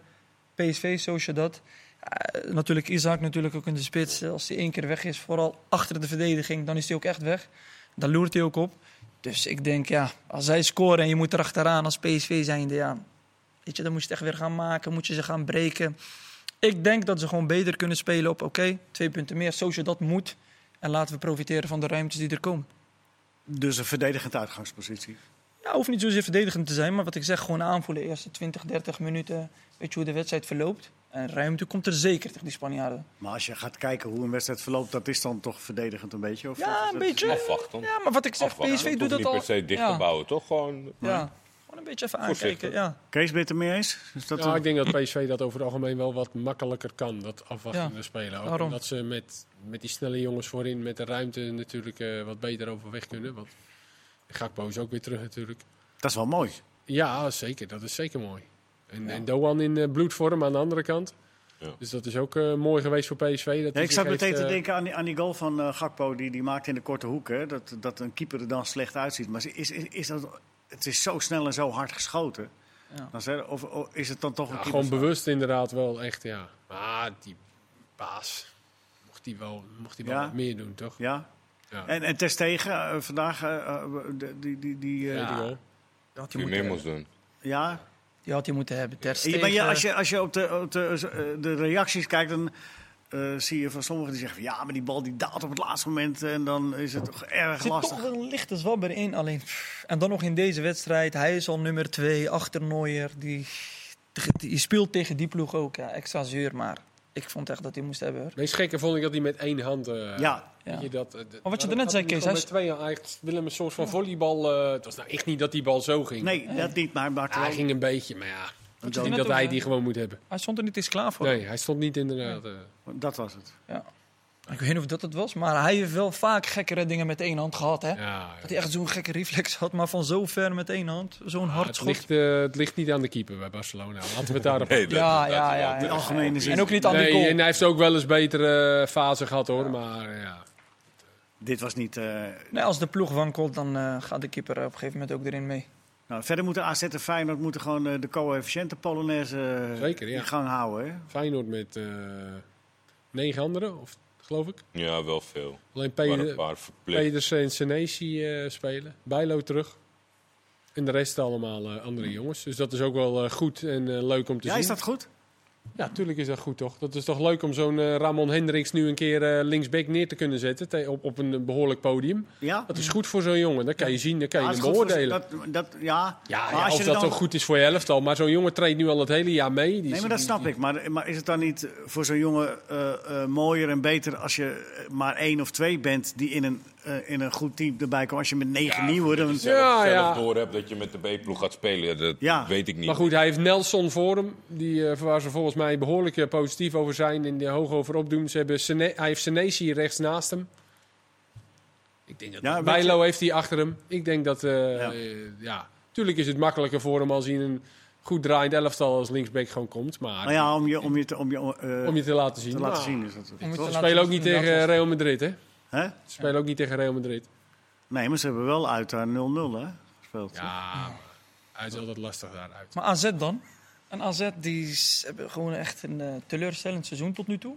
[SPEAKER 4] bij eh, PSV, Sociedad. dat. Eh, natuurlijk Isaac natuurlijk ook in de spits. Als hij één keer weg is, vooral achter de verdediging, dan is hij ook echt weg. Daar loert hij ook op. Dus ik denk, ja, als zij scoren en je moet erachteraan als PSV zijnde, ja, weet je, dan moet je het echt weer gaan maken, moet je ze gaan breken. Ik denk dat ze gewoon beter kunnen spelen op, oké, twee punten meer, Sociedad moet. En laten we profiteren van de ruimtes die er komen.
[SPEAKER 1] Dus een verdedigend uitgangspositie.
[SPEAKER 4] Ja, hoeft niet zozeer verdedigend te zijn, maar wat ik zeg, gewoon aanvoelen. Eerste 20, 30 minuten, weet je hoe de wedstrijd verloopt. En ruimte komt er zeker tegen die Spanjaarden.
[SPEAKER 1] Maar als je gaat kijken hoe een wedstrijd verloopt, dat is dan toch verdedigend een beetje? Of dat-
[SPEAKER 4] Ja, een
[SPEAKER 1] dat-
[SPEAKER 4] beetje.
[SPEAKER 3] Afwachten.
[SPEAKER 4] Ja, maar wat ik zeg,
[SPEAKER 3] Afwachten.
[SPEAKER 4] PSV doet
[SPEAKER 3] hoeft
[SPEAKER 4] dat
[SPEAKER 3] niet
[SPEAKER 4] al.
[SPEAKER 3] per se dicht te
[SPEAKER 4] ja,
[SPEAKER 3] bouwen, toch? Gewoon...
[SPEAKER 4] Ja, gewoon een beetje even
[SPEAKER 3] Voorzichtig.
[SPEAKER 4] aankijken. Ja.
[SPEAKER 1] Kees, ben je het ermee eens? Is dat
[SPEAKER 2] Ja, ik denk dat PSV dat over het algemeen wel wat makkelijker kan. Dat afwachtende
[SPEAKER 4] Ja,
[SPEAKER 2] spelen. Ook
[SPEAKER 4] daarom.
[SPEAKER 2] omdat ze met, met die snelle jongens voorin, met de ruimte natuurlijk eh, wat beter overweg kunnen. Want Gakpo is ook weer terug natuurlijk.
[SPEAKER 1] dat is wel mooi.
[SPEAKER 2] Dus Ja, zeker. Dat is zeker mooi. En, en Doan in eh, bloedvorm aan de andere kant.
[SPEAKER 3] Ja.
[SPEAKER 2] Dus dat is ook eh, mooi geweest voor PSV.
[SPEAKER 1] Ja,
[SPEAKER 2] Dat hij
[SPEAKER 1] ik
[SPEAKER 2] zich
[SPEAKER 1] zat
[SPEAKER 2] heeft,
[SPEAKER 1] meteen te
[SPEAKER 2] eh,
[SPEAKER 1] denken aan die, aan die goal van eh, Gakpo, die, die maakte in de korte hoek. Hè? Dat, dat een keeper er dan slecht uitziet. Maar is, is, is dat, het is zo snel en zo hard geschoten.
[SPEAKER 4] Ja.
[SPEAKER 1] Dan zeg- of, of is het dan toch een
[SPEAKER 2] Ja,
[SPEAKER 1] keeper?
[SPEAKER 2] gewoon bewust inderdaad wel echt, ja. Maar die baas, mocht die wel, mocht die wel
[SPEAKER 1] Ja.
[SPEAKER 2] wat meer doen, toch?
[SPEAKER 1] Ja.
[SPEAKER 2] Ja.
[SPEAKER 1] En, en Terstegen eh, vandaag, eh, eh, de- die, die, die, eh,
[SPEAKER 2] Weet
[SPEAKER 1] ja.
[SPEAKER 2] ik wel.
[SPEAKER 4] Die had
[SPEAKER 3] Die
[SPEAKER 4] hij moeten
[SPEAKER 3] meer
[SPEAKER 4] hebben.
[SPEAKER 3] moest doen.
[SPEAKER 4] Die had hij moeten hebben. Ter
[SPEAKER 1] Ja, maar
[SPEAKER 4] Stegen.
[SPEAKER 1] ja, als je, als je op, de, op de, eh, de reacties kijkt, dan eh, zie je van sommigen die zeggen: van, ja, maar die bal die daalt op het laatste moment. En dan is het toch erg
[SPEAKER 4] Er zit
[SPEAKER 1] lastig.
[SPEAKER 4] toch wel een lichte zwabber in. Alleen, pff, en dan nog in deze wedstrijd. Hij is al nummer 2 achter Neuer. Die, die speelt tegen die ploeg ook. Ja, extra zuur, maar ik vond echt dat hij moest hebben. hoor.
[SPEAKER 2] Het meest gekke vond ik dat hij met één hand... eh,
[SPEAKER 1] Ja,
[SPEAKER 4] Ja.
[SPEAKER 2] weet Je dat, eh, d-
[SPEAKER 4] je daarnet
[SPEAKER 2] waarom gaat
[SPEAKER 4] zei,
[SPEAKER 2] hij niet
[SPEAKER 4] Kees, hij
[SPEAKER 2] gewoon Met twee, handen? hij wil hem een soort van volleybal... eh, het was nou echt niet dat die bal zo ging.
[SPEAKER 1] nee, dat niet, maar eh, maar
[SPEAKER 2] Ja, hij
[SPEAKER 1] wel-
[SPEAKER 2] ging een beetje, maar ja. Ik
[SPEAKER 4] hij eh,
[SPEAKER 2] denk
[SPEAKER 4] net
[SPEAKER 2] dat
[SPEAKER 4] ook,
[SPEAKER 2] hij
[SPEAKER 4] hè?
[SPEAKER 2] die gewoon moet hebben.
[SPEAKER 4] Hij stond er niet eens klaar voor.
[SPEAKER 2] Nee, hij stond niet inderdaad... eh,
[SPEAKER 1] dat was het.
[SPEAKER 4] Ik weet niet of dat het was, maar hij heeft wel vaak gekkere dingen met één hand gehad. Hè?
[SPEAKER 2] ja,
[SPEAKER 4] Dat hij echt zo'n gekke reflex had, maar van zo ver met één hand. Zo'n
[SPEAKER 2] Maar
[SPEAKER 4] hard
[SPEAKER 2] het,
[SPEAKER 4] schot.
[SPEAKER 2] ligt, eh, het ligt niet aan de keeper bij Barcelona. Laten we het daarop...
[SPEAKER 3] Nee, dat-
[SPEAKER 4] Ja,
[SPEAKER 3] dat-
[SPEAKER 4] ja,
[SPEAKER 3] dat-
[SPEAKER 4] ja,
[SPEAKER 3] dat-
[SPEAKER 4] ja.
[SPEAKER 1] In algemene zin.
[SPEAKER 4] En ook niet aan die
[SPEAKER 2] Nee,
[SPEAKER 4] goal.
[SPEAKER 2] en hij heeft ook wel eens betere eh, fase gehad, hoor. Maar eh, ja.
[SPEAKER 1] Dit was niet. eh,
[SPEAKER 4] Nee, als de ploeg wankelt, dan eh, gaat de keeper op een gegeven moment ook erin mee.
[SPEAKER 1] nou, verder moeten AZ en Feyenoord moeten gewoon eh, de coëfficiënte Polonaise eh,
[SPEAKER 2] Zeker, ja.
[SPEAKER 1] in gang houden. Hè?
[SPEAKER 2] Feyenoord met eh, negen anderen, of, geloof ik.
[SPEAKER 3] Ja, wel veel.
[SPEAKER 2] Alleen
[SPEAKER 3] Er
[SPEAKER 2] Pe-
[SPEAKER 3] waren een paar verplicht.
[SPEAKER 2] Pedersen en dus, Senesi eh, spelen. Bijlo terug. En de rest allemaal eh, andere jongens. Dus dat is ook wel eh, goed en eh, leuk om te
[SPEAKER 1] Ja,
[SPEAKER 2] zien.
[SPEAKER 1] is dat goed?
[SPEAKER 2] Ja, tuurlijk is dat goed, toch? Dat is toch leuk om zo'n eh, Ramon Hendricks nu een keer eh, linksback neer te kunnen zetten te- op, op een behoorlijk podium.
[SPEAKER 1] Ja.
[SPEAKER 2] Dat is goed voor zo'n jongen. Dat kan je zien, dat kan je
[SPEAKER 1] Ah, is
[SPEAKER 2] hem
[SPEAKER 1] goed voor-
[SPEAKER 2] beoordelen.
[SPEAKER 1] Dat, dat, ja.
[SPEAKER 2] Ja,
[SPEAKER 1] Maar
[SPEAKER 2] ja,
[SPEAKER 1] als
[SPEAKER 2] of
[SPEAKER 1] je
[SPEAKER 2] dat
[SPEAKER 1] er dan-
[SPEAKER 2] toch goed is voor je elftal. Maar zo'n jongen treedt nu al het hele jaar mee. Die
[SPEAKER 1] Nee,
[SPEAKER 2] is-
[SPEAKER 1] maar dat
[SPEAKER 2] die-
[SPEAKER 1] snap ik. Maar, maar is het dan niet voor zo'n jongen eh, eh, mooier en beter als je eh, maar één of twee bent die in een, eh, in een goed team erbij komen? Als je met negen nieuwe. Dan,
[SPEAKER 3] Zelf,
[SPEAKER 2] Ja,
[SPEAKER 3] zelf
[SPEAKER 2] ja.
[SPEAKER 3] doorheb dat je met de B-ploeg gaat spelen, dat
[SPEAKER 1] Ja.
[SPEAKER 3] weet ik niet.
[SPEAKER 2] Maar goed, hij heeft Nelson voor hem. Die, eh, waar ze volgens mij behoorlijk eh, positief over zijn en er hoog over opdoen. Ze hebben Sene- hij heeft Senesi rechts naast hem. Ik denk dat
[SPEAKER 1] Ja, weet
[SPEAKER 2] Bijlo heeft hij achter hem. Ik denk dat... eh,
[SPEAKER 1] Ja.
[SPEAKER 2] eh, ja, tuurlijk is het makkelijker voor hem als hij in een goed draaiend elftal als linksback gewoon komt. Maar
[SPEAKER 1] nou ja, om je, om je, te, om je, eh,
[SPEAKER 2] om je te laten zien.
[SPEAKER 1] te laten
[SPEAKER 2] Nou,
[SPEAKER 1] zien is dat.
[SPEAKER 4] Om je te
[SPEAKER 2] Ze
[SPEAKER 4] laten
[SPEAKER 2] spelen ook
[SPEAKER 4] zien
[SPEAKER 2] niet
[SPEAKER 4] hoe dat
[SPEAKER 2] tegen
[SPEAKER 4] was.
[SPEAKER 2] Real Madrid, hè?
[SPEAKER 1] Hè?
[SPEAKER 2] Ze spelen ook niet tegen Real Madrid.
[SPEAKER 1] Nee, maar ze hebben wel uit daar 0-0 hè, gespeeld.
[SPEAKER 2] Ja, Ah, hij is altijd lastig daaruit.
[SPEAKER 4] Maar AZ dan? En AZ die s- hebben gewoon echt een eh, teleurstellend seizoen tot nu toe.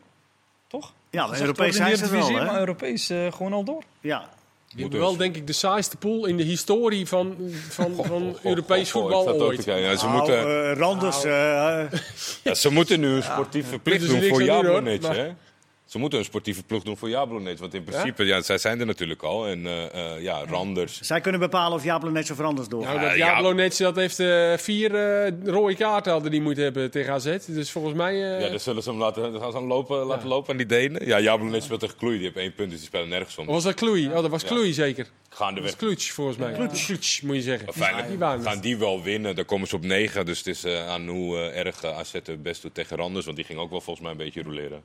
[SPEAKER 4] Toch?
[SPEAKER 1] Ja,
[SPEAKER 4] Dat is echt
[SPEAKER 1] Europees zijn ze
[SPEAKER 4] ordinaire
[SPEAKER 1] het wel,
[SPEAKER 4] divisie, Maar
[SPEAKER 1] hè?
[SPEAKER 4] Europees eh, gewoon al door.
[SPEAKER 1] Ja,
[SPEAKER 2] Die hebben wel, denk ik, de saaiste pool in de historie van, van, van Europees
[SPEAKER 3] Goh, goh, ik
[SPEAKER 2] voetbal
[SPEAKER 3] zat ook te
[SPEAKER 2] ooit.
[SPEAKER 3] kijken. Ja, ze,
[SPEAKER 1] Nou,
[SPEAKER 3] moeten,
[SPEAKER 1] eh, Randers, eh,
[SPEAKER 3] ja, ze moeten nu een sportief verplicht
[SPEAKER 2] Dus
[SPEAKER 3] doen
[SPEAKER 2] niks
[SPEAKER 3] voor
[SPEAKER 2] aan doen, hoor,
[SPEAKER 3] Jablonec.
[SPEAKER 2] maar-
[SPEAKER 3] hè? Ze moeten een sportieve ploeg doen voor Jablonec. Want in principe, ja? zij zijn er natuurlijk al. En eh, eh, ja, Randers.
[SPEAKER 1] zij kunnen bepalen of Jaapel net zo Randers door.
[SPEAKER 2] Nou,
[SPEAKER 3] Ah,
[SPEAKER 2] dat
[SPEAKER 3] ja.
[SPEAKER 2] Jablonec, dat heeft eh, vier eh, rode kaarten hadden die moeten hebben tegen AZ. Dus volgens mij... eh,
[SPEAKER 3] Ja, dan zullen ze hem laten, dan gaan ze hem lopen, laten lopen aan die Denen. Ja, Jablonec speelt tegen Kloei. Die hebben één punt, dus die spelen nergens om.
[SPEAKER 2] was dat Kloei? Oh, dat was Kloei zeker.
[SPEAKER 3] Gaandeweg.
[SPEAKER 2] Dat was Kloets, volgens mij. Kloets, moet je zeggen.
[SPEAKER 3] Feyenoord
[SPEAKER 2] Die waren
[SPEAKER 3] gaan
[SPEAKER 2] het.
[SPEAKER 3] die wel winnen. Dan komen ze op 9. Dus het is eh, aan hoe eh, erg eh, AZ het best doet tegen Randers. Want die ging ook wel volgens mij een beetje roleren.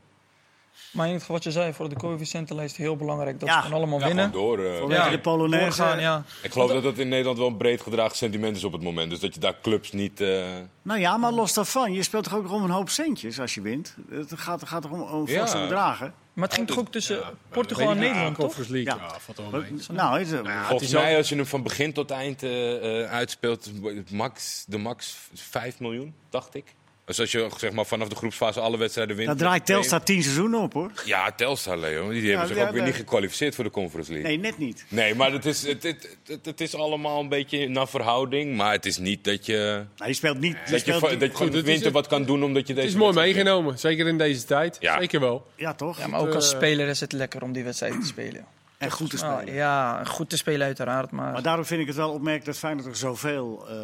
[SPEAKER 4] Maar in ieder geval wat je zei, voor de coëfficiëntenlijst heel belangrijk dat
[SPEAKER 1] Ja.
[SPEAKER 4] ze gewoon allemaal
[SPEAKER 3] Ja, gewoon
[SPEAKER 4] winnen.
[SPEAKER 3] door. eh.
[SPEAKER 1] Vanwege de Polonaise.
[SPEAKER 4] doorgaan, ja.
[SPEAKER 3] Ik geloof dat dat in Nederland wel een breed gedragen sentiment is op het moment. Dus dat je daar clubs niet... eh,
[SPEAKER 1] Nou ja, maar los daarvan, je speelt toch ook nog om een hoop centjes als je wint? Het gaat, gaat toch om, om
[SPEAKER 3] Ja.
[SPEAKER 1] forse bedragen?
[SPEAKER 4] Maar het ging toch ook tussen Portugal
[SPEAKER 2] Weet
[SPEAKER 4] en
[SPEAKER 2] je,
[SPEAKER 4] Nederland,
[SPEAKER 2] ja,
[SPEAKER 4] toch?
[SPEAKER 2] Conference League.
[SPEAKER 1] Ja.
[SPEAKER 2] Ja, valt wel mee.
[SPEAKER 1] Nou, is,
[SPEAKER 3] Volgens
[SPEAKER 2] is ook-
[SPEAKER 3] mij, als je hem van begin tot eind eh, eh, uitspeelt, max, de max 5 miljoen, dacht ik. Dus als je zeg maar, vanaf de groepsfase alle wedstrijden wint...
[SPEAKER 1] dat draait
[SPEAKER 3] dan-
[SPEAKER 1] Telstar tien seizoenen op, hoor.
[SPEAKER 3] Ja, Telstar, Leo. Die hebben zich
[SPEAKER 1] ja,
[SPEAKER 3] ook weer
[SPEAKER 1] nee.
[SPEAKER 3] niet gekwalificeerd voor de Conference League.
[SPEAKER 1] Nee, net niet.
[SPEAKER 3] Nee, maar het is, het, het, het, het is allemaal een beetje naar verhouding. Maar het is niet dat je,
[SPEAKER 1] Nou, je speelt niet. je
[SPEAKER 3] dat je,
[SPEAKER 1] speelt
[SPEAKER 3] va-
[SPEAKER 1] niet-
[SPEAKER 3] dat je van
[SPEAKER 2] Goed,
[SPEAKER 3] de
[SPEAKER 2] het is-
[SPEAKER 3] winter wat kan doen omdat je deze...
[SPEAKER 2] Het is mooi
[SPEAKER 3] wedstrijd wint.
[SPEAKER 2] meegenomen, zeker in deze tijd.
[SPEAKER 3] Ja.
[SPEAKER 2] Zeker wel.
[SPEAKER 1] ja, toch?
[SPEAKER 4] Ja, maar ook als
[SPEAKER 2] eh,
[SPEAKER 4] speler is het lekker om die wedstrijd te
[SPEAKER 2] (clears throat)
[SPEAKER 4] spelen.
[SPEAKER 1] En goed te
[SPEAKER 4] Ah,
[SPEAKER 1] spelen.
[SPEAKER 4] ja, goed te spelen uiteraard, maar,
[SPEAKER 1] Maar daarom vind ik het wel opmerkelijk dat Feyenoord er zoveel... eh,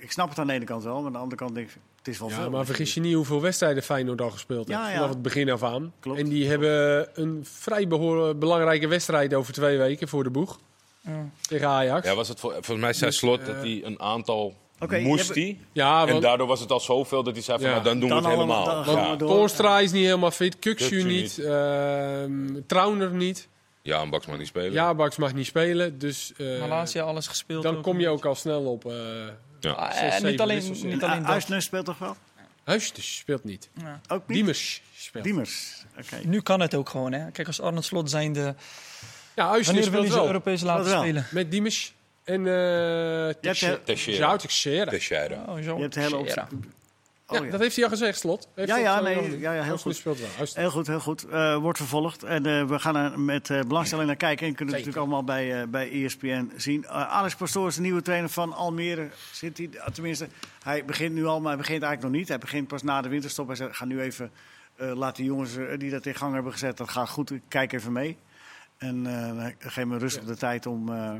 [SPEAKER 1] ik snap het aan de ene kant wel, maar aan de andere kant denk ik... Het is wel
[SPEAKER 2] Ja,
[SPEAKER 1] veel.
[SPEAKER 2] maar vergis je niet hoeveel wedstrijden Feyenoord al gespeeld heeft.
[SPEAKER 1] Ja, ja.
[SPEAKER 2] Vanaf het begin af aan.
[SPEAKER 1] Klopt.
[SPEAKER 2] En die hebben een vrij behoor- belangrijke wedstrijd over twee weken voor de boeg. Tegen Ajax.
[SPEAKER 3] Ja, was het vol- volgens mij zei Slot dat hij een aantal
[SPEAKER 1] Oké, je
[SPEAKER 3] moest
[SPEAKER 1] hebt-
[SPEAKER 3] hij.
[SPEAKER 2] eh, Ja,
[SPEAKER 3] En
[SPEAKER 2] want
[SPEAKER 3] daardoor was het al zoveel dat hij zei van,
[SPEAKER 2] Ja.
[SPEAKER 3] nou, dan doen we
[SPEAKER 1] Dan
[SPEAKER 3] het
[SPEAKER 1] allemaal-
[SPEAKER 3] helemaal.
[SPEAKER 1] dan gaan we
[SPEAKER 3] ja.
[SPEAKER 1] door.
[SPEAKER 2] Toornstra is niet helemaal fit. Kuksu
[SPEAKER 3] Kuksu
[SPEAKER 2] niet. ehm, Trauner niet.
[SPEAKER 3] ja, een Baksman niet spelen.
[SPEAKER 2] Jabaks mag niet spelen. Dus eh,
[SPEAKER 4] Malasia alles gespeeld.
[SPEAKER 2] dan kom je ook al snel op.
[SPEAKER 4] Ah, eh,
[SPEAKER 2] zes, zeven
[SPEAKER 4] niet alleen,
[SPEAKER 2] wissels in. Ah,
[SPEAKER 4] niet alleen
[SPEAKER 1] En
[SPEAKER 4] dat.
[SPEAKER 1] Uisnes speelt toch wel?
[SPEAKER 2] Huisjes speelt niet.
[SPEAKER 1] Ook niet?
[SPEAKER 2] Diemers speelt.
[SPEAKER 1] Diemers. Oké.
[SPEAKER 4] Nu kan het ook gewoon, hè. Kijk, als Arnold Slot zijnde...
[SPEAKER 2] Ja, Huisjes
[SPEAKER 4] Wanneer wil
[SPEAKER 2] speelt
[SPEAKER 4] hij ze
[SPEAKER 2] wel.
[SPEAKER 4] Europees laten
[SPEAKER 1] Dat wel.
[SPEAKER 4] spelen?
[SPEAKER 2] Met Diemers en eh
[SPEAKER 1] Teixeira.
[SPEAKER 3] Teixeira.
[SPEAKER 2] Teixeira.
[SPEAKER 3] Teixeira.
[SPEAKER 4] Oh, zo.
[SPEAKER 1] Je hebt de hele
[SPEAKER 4] Shit,
[SPEAKER 1] optie.
[SPEAKER 4] ja.
[SPEAKER 1] Oh,
[SPEAKER 2] ja,
[SPEAKER 1] ja.
[SPEAKER 2] dat heeft hij al gezegd, Slot. Heeft
[SPEAKER 1] Ja,
[SPEAKER 2] dat,
[SPEAKER 1] ja,
[SPEAKER 2] eh,
[SPEAKER 1] nee,
[SPEAKER 2] wel-
[SPEAKER 1] ja, ja, heel
[SPEAKER 2] Huisjes
[SPEAKER 1] goed.
[SPEAKER 2] speelt wel. Huisjes.
[SPEAKER 1] Heel goed, heel goed. Eh, wordt vervolgd. En eh, we gaan er met eh, belangstelling naar kijken. En kunnen het natuurlijk allemaal bij, eh, bij ESPN zien. Eh, Alex Pastoor is de nieuwe trainer van Almere. Zit hij, eh, tenminste, hij begint nu al, maar hij begint eigenlijk nog niet. Hij begint pas na de winterstop. Hij zegt, ga nu even, eh laat die jongens eh, die dat in gang hebben gezet, dat gaat goed. Ik Kijk even mee. En eh geef me rustig de tijd om, eh,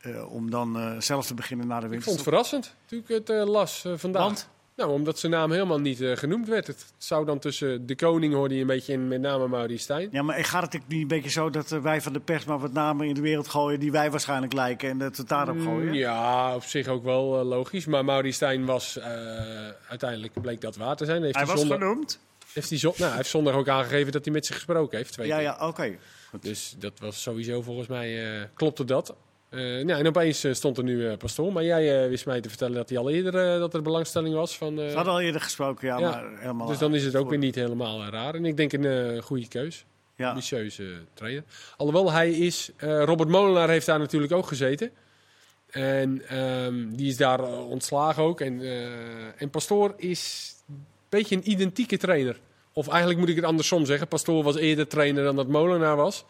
[SPEAKER 1] eh, om dan eh, zelf te beginnen na de
[SPEAKER 2] Ik vond het
[SPEAKER 1] winterstop.
[SPEAKER 2] verrassend toen ik het eh, las eh, vandaag.
[SPEAKER 1] Want?
[SPEAKER 2] Nou, omdat zijn naam helemaal niet eh, genoemd werd. Het zou dan tussen de koning hoorde je een beetje in, met name Maurice Stijn.
[SPEAKER 1] Ja, maar gaat het natuurlijk niet een beetje zo dat eh, wij van de pers maar wat namen in de wereld gooien die wij waarschijnlijk lijken en dat we het daarop
[SPEAKER 2] Mm,
[SPEAKER 1] gooien?
[SPEAKER 2] Ja, op zich ook wel eh, logisch. Maar Maurice Stijn was eh, uiteindelijk, bleek dat waar te zijn. Heeft
[SPEAKER 1] Hij was
[SPEAKER 2] zondag,
[SPEAKER 1] genoemd.
[SPEAKER 2] heeft hij, zon- nou, hij heeft zondag ook aangegeven dat hij met ze gesproken heeft. Twee
[SPEAKER 1] Ja,
[SPEAKER 2] keer.
[SPEAKER 1] ja, oké.
[SPEAKER 2] Dus dat was sowieso volgens mij, eh klopte dat. Eh, nou, en opeens eh, stond er nu eh, Pastoor. Maar jij eh, wist mij te vertellen dat hij al eerder eh, dat er belangstelling was. Van, eh,
[SPEAKER 1] We hadden al eerder gesproken, ja,
[SPEAKER 2] Ja.
[SPEAKER 1] maar helemaal.
[SPEAKER 2] dus dan is het ook weer niet helemaal eh, raar. En ik denk een eh, goede keus.
[SPEAKER 1] Ja.
[SPEAKER 2] Ambitieuze trainer. Alhoewel hij is... eh, Robert Molenaar heeft daar natuurlijk ook gezeten. En ehm, die is daar eh, ontslagen ook. En, eh, en Pastoor is een beetje een identieke trainer. Of eigenlijk moet ik het andersom zeggen. Pastoor was eerder trainer dan dat Molenaar was.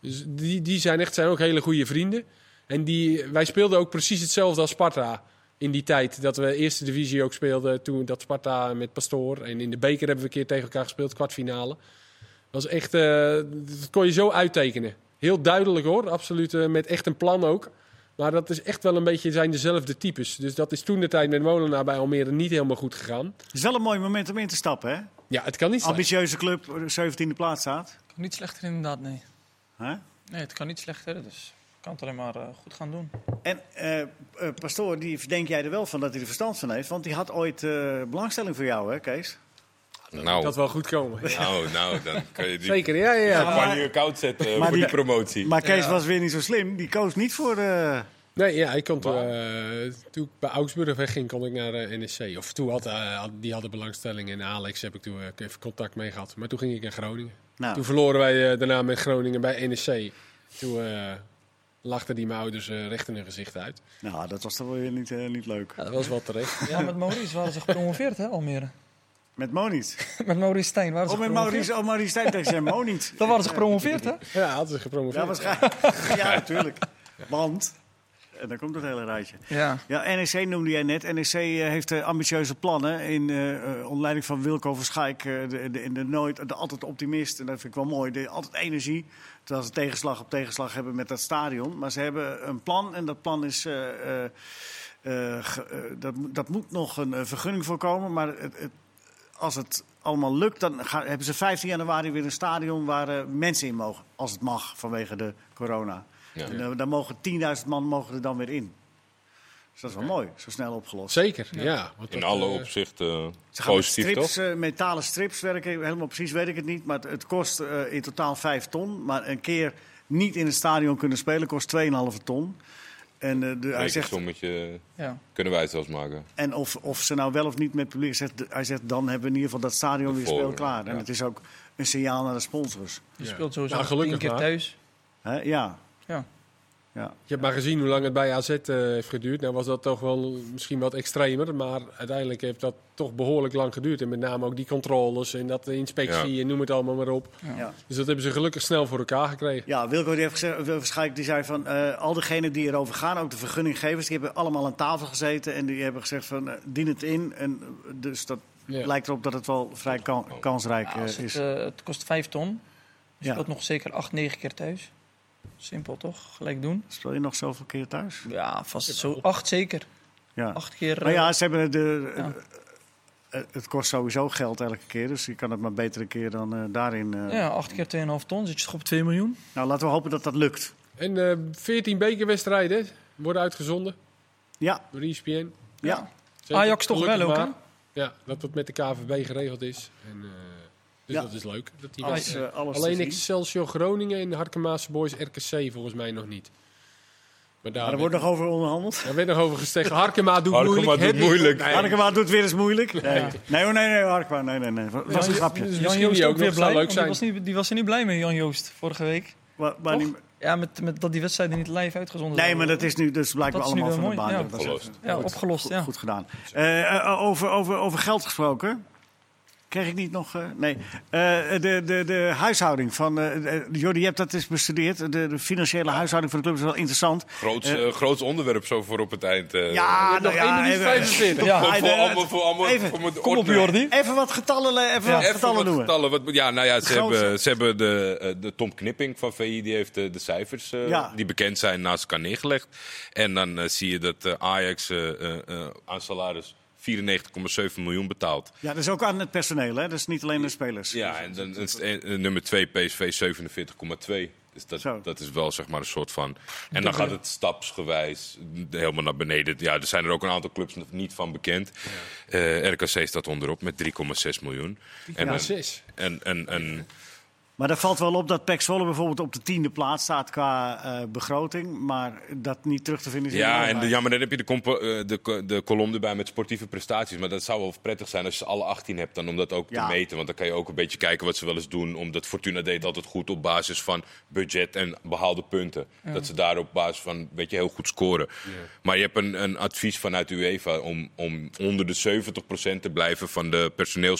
[SPEAKER 2] Dus die, die zijn echt zijn ook hele goede vrienden. En die, wij speelden ook precies hetzelfde als Sparta. In die tijd dat we eerste divisie ook speelden. Toen dat Sparta met Pastoor. En in de beker hebben we een keer tegen elkaar gespeeld. Kwartfinale. was echt, eh, dat kon je zo uittekenen. Heel duidelijk hoor. Absoluut eh, met echt een plan ook. Maar dat is echt wel een beetje zijn dezelfde types. Dus dat is toen de tijd met Molenaar bij Almere niet helemaal goed gegaan.
[SPEAKER 1] Het is wel een mooi moment om in te stappen, hè?
[SPEAKER 2] Ja, het kan niet slecht.
[SPEAKER 1] Ambitieuze club, eh, 17e plaats staat.
[SPEAKER 4] Kan niet slechter inderdaad, nee.
[SPEAKER 1] Hè?
[SPEAKER 4] Nee, het kan niet slechter, dus kan het alleen maar eh, goed gaan doen.
[SPEAKER 1] En eh, eh, Pastoor, die denk jij er wel van dat hij er verstand van heeft? Want die had ooit eh, belangstelling voor jou, hè, Kees?
[SPEAKER 2] Dat
[SPEAKER 3] Nou,
[SPEAKER 2] wel goed komen.
[SPEAKER 3] (laughs) nou, nou, dan kan je die
[SPEAKER 2] (laughs) Zeker, ja, ja, ja.
[SPEAKER 3] campagne koud zetten eh,
[SPEAKER 1] maar
[SPEAKER 3] voor die
[SPEAKER 1] die-
[SPEAKER 3] promotie.
[SPEAKER 1] Maar Kees was weer niet zo slim. Die koos niet voor. eh,
[SPEAKER 2] Nee, ja, ik kon toen, eh, toen ik bij Augsburg wegging, kon ik naar eh, NEC. Of toen had, eh, had- die hadden belangstelling en Alex heb ik toen eh, even contact mee gehad. Maar toen ging ik naar Groningen.
[SPEAKER 1] nou,
[SPEAKER 2] Toen verloren wij eh, daarna met Groningen bij NEC. Toen eh, lachten die mijn ouders eh, recht in hun gezicht uit.
[SPEAKER 1] Nou, dat was toch wel weer niet, eh, niet leuk.
[SPEAKER 2] Ja, dat was wel terecht.
[SPEAKER 4] Ja, met Maurice waren ze gepromoveerd, hè, Almere. (laughs)
[SPEAKER 1] Met Mo niet.
[SPEAKER 4] Met Maurice Stijn waren ze
[SPEAKER 1] Oh, met
[SPEAKER 4] gepromoveerd.
[SPEAKER 1] Maurice, oh, Maurice Stijn tegen zijn Mo niet.
[SPEAKER 4] Dan waren ze gepromoveerd, hè?
[SPEAKER 2] (laughs) ja, hadden ze gepromoveerd.
[SPEAKER 1] Ja, waarschijnlijk. (laughs) Ja, natuurlijk. Want, en dan komt het hele rijtje.
[SPEAKER 4] Ja.
[SPEAKER 1] Ja, NEC noemde jij net. NEC eh, heeft eh, ambitieuze plannen. In eh, eh, onder leiding van Wilco van Schaik, eh, de, de, de, nooit, de altijd optimist. En dat vind ik wel mooi. De, altijd energie. Terwijl ze tegenslag op tegenslag hebben met dat stadion. Maar ze hebben een plan en dat plan is. eh, eh, eh, ge- eh, dat, moet- dat moet nog een eh, vergunning voorkomen. Maar het, het- als het allemaal lukt, dan gaan- hebben ze 15 januari weer een stadion waar eh, mensen in mogen. Als het mag, vanwege de corona.
[SPEAKER 3] Ja.
[SPEAKER 1] En, eh, dan mogen 10.000 man mogen er dan weer in. Dus dat is wel mooi, zo snel opgelost.
[SPEAKER 2] Zeker, ja. want
[SPEAKER 3] In
[SPEAKER 2] dat,
[SPEAKER 3] alle
[SPEAKER 2] eh,
[SPEAKER 3] opzichten
[SPEAKER 1] Ze gaan met
[SPEAKER 3] positief,
[SPEAKER 1] strips,
[SPEAKER 3] toch?
[SPEAKER 1] eh, metalen strips werken, helemaal precies weet ik het niet. Maar het, het kost eh, in totaal 5 ton. Maar een keer niet in het stadion kunnen spelen kost 2,5 ton. En, eh, de, hij zegt,
[SPEAKER 3] sommetje
[SPEAKER 4] ja.
[SPEAKER 3] kunnen wij het zelfs maken.
[SPEAKER 1] en of, of ze nou wel of niet met publiek zegt, d- hij zegt, dan hebben we in ieder geval dat stadion weer
[SPEAKER 3] Ervoor,
[SPEAKER 1] speelklaar. En
[SPEAKER 3] ja.
[SPEAKER 1] het is ook een signaal naar de sponsors.
[SPEAKER 4] Je
[SPEAKER 2] Ja.
[SPEAKER 4] speelt sowieso
[SPEAKER 2] Nou,
[SPEAKER 4] nog
[SPEAKER 2] gelukkig
[SPEAKER 4] tien keer
[SPEAKER 2] maar.
[SPEAKER 4] thuis.
[SPEAKER 1] Hè? ja.
[SPEAKER 4] Ja.
[SPEAKER 1] ja.
[SPEAKER 2] Je hebt maar gezien hoe lang het bij AZ eh, heeft geduurd. Nou was dat toch wel misschien wat extremer. Maar uiteindelijk heeft dat toch behoorlijk lang geduurd. En met name ook die controles en dat de inspectie
[SPEAKER 3] Ja.
[SPEAKER 2] en noem het allemaal maar op.
[SPEAKER 1] ja.
[SPEAKER 2] Dus dat hebben ze gelukkig snel voor elkaar gekregen.
[SPEAKER 1] Ja, Wilco die heeft gezegd, Wilco Schaik die zei van eh, al diegenen die erover gaan, ook de vergunninggevers, die hebben allemaal aan tafel gezeten en die hebben gezegd van eh, dien het in. En eh, dus dat
[SPEAKER 2] Ja.
[SPEAKER 1] lijkt erop dat het wel vrij kan- kansrijk eh,
[SPEAKER 4] Als het,
[SPEAKER 1] is.
[SPEAKER 4] eh, het kost 5 ton. Je
[SPEAKER 1] Ja.
[SPEAKER 4] speelt nog zeker 8, 9 keer thuis. Simpel toch? Gelijk doen.
[SPEAKER 1] Speel je nog zoveel keer thuis?
[SPEAKER 4] Ja, vast zo. 8 zeker.
[SPEAKER 1] Ja.
[SPEAKER 4] 8 keer.
[SPEAKER 1] Maar
[SPEAKER 4] eh,
[SPEAKER 1] ja, ze hebben de,
[SPEAKER 4] Ja.
[SPEAKER 1] eh, het kost sowieso geld elke keer, dus je kan het maar beter een keer dan eh, daarin. eh.
[SPEAKER 4] ja, 8 keer 2,5 ton. Zit je toch op 2 miljoen?
[SPEAKER 1] Nou, laten we hopen dat dat lukt.
[SPEAKER 2] En eh 14 bekerwedstrijden hè, worden uitgezonden
[SPEAKER 1] Ja,
[SPEAKER 2] door E ESPN.
[SPEAKER 1] ja.
[SPEAKER 2] Zeker.
[SPEAKER 4] Ajax toch
[SPEAKER 2] Gelukkig
[SPEAKER 4] wel ook, hè?
[SPEAKER 2] maar. Ja, dat het met de KVB geregeld is. En, eh, dus
[SPEAKER 1] Ja.
[SPEAKER 2] dat is leuk. Dat die
[SPEAKER 1] Alles,
[SPEAKER 2] wedstrijd-
[SPEAKER 1] eh, alles
[SPEAKER 2] Alleen
[SPEAKER 1] te zien.
[SPEAKER 2] Excelsior Groningen en Harkemaatse Boys RKC volgens mij nog niet. Maar daar,
[SPEAKER 1] Maar er
[SPEAKER 2] werd,
[SPEAKER 1] wordt nog over onderhandeld.
[SPEAKER 2] daar werd nog over gestegen. Harkema doet
[SPEAKER 3] Harkema
[SPEAKER 2] moeilijk.
[SPEAKER 3] doet
[SPEAKER 2] Hendrik-
[SPEAKER 3] moeilijk.
[SPEAKER 2] Nee,
[SPEAKER 1] Harkema doet weer eens moeilijk. Nee, nee, hoor, nee, nee, Harkema, nee, nee, nee. Dat was een
[SPEAKER 4] Ja,
[SPEAKER 1] grapje.
[SPEAKER 2] Dus
[SPEAKER 4] Jan
[SPEAKER 2] misschien
[SPEAKER 4] Joost
[SPEAKER 2] die
[SPEAKER 4] ook
[SPEAKER 2] ook
[SPEAKER 4] weer
[SPEAKER 2] nog. Zou
[SPEAKER 4] blij.
[SPEAKER 2] leuk
[SPEAKER 4] want Die
[SPEAKER 2] zijn.
[SPEAKER 4] was, niet, die was er niet blij mee, Jan Joost, vorige week.
[SPEAKER 1] Waar- waar
[SPEAKER 4] Toch?
[SPEAKER 1] niet-
[SPEAKER 4] Ja, met, met dat die wedstrijden niet live uitgezonden
[SPEAKER 1] Nee, maar
[SPEAKER 4] zouden
[SPEAKER 1] dat is nu dus blijkbaar
[SPEAKER 4] Dat is nu
[SPEAKER 1] allemaal van
[SPEAKER 4] wel
[SPEAKER 1] de baan.
[SPEAKER 4] mooi, ja.
[SPEAKER 1] Dat is
[SPEAKER 3] Opgelost.
[SPEAKER 1] even
[SPEAKER 4] worden. Ja,
[SPEAKER 1] goed-
[SPEAKER 4] opgelost.
[SPEAKER 1] goed,
[SPEAKER 4] ja.
[SPEAKER 1] goed gedaan. Eh, eh, over, over, over geld gesproken. Kreeg ik niet nog. eh, nee. Eh, de, de, de huishouding van. eh eh, Jordi, je hebt dat eens bestudeerd. De, de financiële huishouding van de club is wel interessant.
[SPEAKER 3] Groots, eh, groots onderwerp zo voor op het eind. eh.
[SPEAKER 1] ja,
[SPEAKER 2] nog
[SPEAKER 1] nou
[SPEAKER 2] één
[SPEAKER 1] ja,
[SPEAKER 2] minuut
[SPEAKER 1] even,
[SPEAKER 2] 45.
[SPEAKER 4] Ja.
[SPEAKER 3] Voor-
[SPEAKER 1] hij-
[SPEAKER 3] voor
[SPEAKER 1] de-
[SPEAKER 3] allemaal- voor allemaal-
[SPEAKER 1] even,
[SPEAKER 3] voor mijn
[SPEAKER 4] Kom op,
[SPEAKER 3] ordner.
[SPEAKER 4] Jordi.
[SPEAKER 1] even wat getallen, eh, even
[SPEAKER 4] Ja.
[SPEAKER 1] wat
[SPEAKER 3] Even
[SPEAKER 1] getallen
[SPEAKER 3] wat
[SPEAKER 1] noemen.
[SPEAKER 3] getallen. Wat, ja, nou ja, ze,
[SPEAKER 1] Grootste.
[SPEAKER 3] hebben, ze hebben de, eh, de Tom Knipping van VI, die heeft eh, de cijfers eh,
[SPEAKER 1] Ja.
[SPEAKER 3] die bekend zijn naast elkaar neergelegd. En dan eh, zie je dat eh, Ajax eh, eh, eh, aan salaris 94,7 miljoen betaalt.
[SPEAKER 1] Ja, dat is ook aan het personeel, hè? Dat is niet alleen de spelers.
[SPEAKER 3] Ja, en dan is eh, eh, nummer 2 PSV 47,2. Dus
[SPEAKER 1] Zo.
[SPEAKER 3] dat, dat is wel zeg maar een soort van. En dan gaat het stapsgewijs helemaal naar beneden. Ja, er zijn er ook een aantal clubs nog niet van bekend. Eh, RKC staat onderop met 3,6 miljoen. En,
[SPEAKER 2] Ja,
[SPEAKER 3] dan-
[SPEAKER 2] zes.
[SPEAKER 3] en, en, en
[SPEAKER 1] Maar dat valt wel op dat Pek Zwolle bijvoorbeeld op de tiende plaats staat qua eh, begroting. Maar dat niet terug te vinden is in
[SPEAKER 3] Ja, en
[SPEAKER 1] de,
[SPEAKER 3] de, ja, maar dan heb je de, compo- eh, de, co- de kolom erbij met sportieve prestaties. Maar dat zou wel prettig zijn als je ze alle 18 hebt, dan om dat ook
[SPEAKER 1] Ja.
[SPEAKER 3] te meten. Want dan kan je ook een beetje kijken wat ze wel eens doen. Omdat Fortuna deed altijd goed op basis van budget en behaalde punten. Dat ze daar op basis van, weet je, heel goed scoren. Maar je hebt een, een advies vanuit UEFA om, om onder de 70% te blijven van de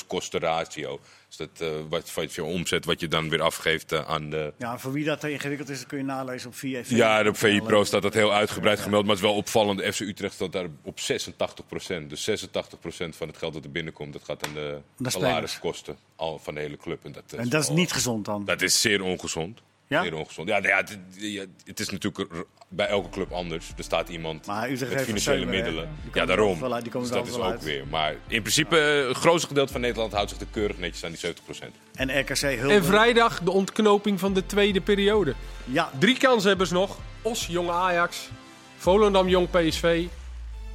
[SPEAKER 3] personeelskostenratio. Dus dat eh, wat, wat je omzet, wat je dan weer afgeeft eh, aan de...
[SPEAKER 1] Ja, voor wie dat te ingewikkeld is, dat kun je nalezen op 4
[SPEAKER 3] Ja, op VI Pro staat dat heel uitgebreid gemeld. Maar het is wel opvallend. FC Utrecht staat daar op 86 Dus 86 van het geld dat er binnenkomt, dat gaat aan de
[SPEAKER 1] spelers.
[SPEAKER 3] salariskosten al van de hele club. En dat is,
[SPEAKER 1] En dat is
[SPEAKER 3] wel-
[SPEAKER 1] niet gezond dan.
[SPEAKER 3] Dat is zeer ongezond.
[SPEAKER 1] Ja?
[SPEAKER 3] Zeer ongezond. Ja, nou ja, het, ja, het is natuurlijk er- bij elke club anders. Er staat iemand
[SPEAKER 1] Maar Utrecht
[SPEAKER 3] met
[SPEAKER 1] heeft
[SPEAKER 3] financiële
[SPEAKER 1] Van Zeulen,
[SPEAKER 3] middelen.
[SPEAKER 1] hè? Die komen
[SPEAKER 3] Ja,
[SPEAKER 1] er
[SPEAKER 3] daarom.
[SPEAKER 1] overal uit, die komen
[SPEAKER 3] Dus
[SPEAKER 1] er
[SPEAKER 3] dat is ook
[SPEAKER 1] overal uit.
[SPEAKER 3] weer. Maar in principe, eh, het grootste gedeelte van Nederland houdt zich er keurig netjes aan die 70
[SPEAKER 1] En RKC
[SPEAKER 2] En
[SPEAKER 1] Hulp.
[SPEAKER 2] vrijdag de ontknoping van de tweede periode.
[SPEAKER 1] Ja,
[SPEAKER 2] Drie kanshebbers nog. Os, Jong Ajax. Volendam, Jong PSV.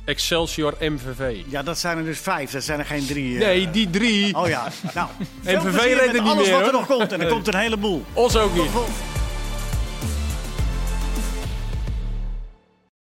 [SPEAKER 2] Excelsior, MVV.
[SPEAKER 1] ja, dat zijn er dus vijf. Dat zijn er geen drie. eh.
[SPEAKER 2] Nee, die drie.
[SPEAKER 1] Oh ja. Nou, veel
[SPEAKER 2] NVV
[SPEAKER 1] plezier
[SPEAKER 2] redt
[SPEAKER 1] met
[SPEAKER 2] er niet
[SPEAKER 1] alles
[SPEAKER 2] meer,
[SPEAKER 1] wat er
[SPEAKER 2] hoor.
[SPEAKER 1] nog komt. En er
[SPEAKER 2] Nee.
[SPEAKER 1] komt een heleboel.
[SPEAKER 2] Os ook niet.
[SPEAKER 1] Vol-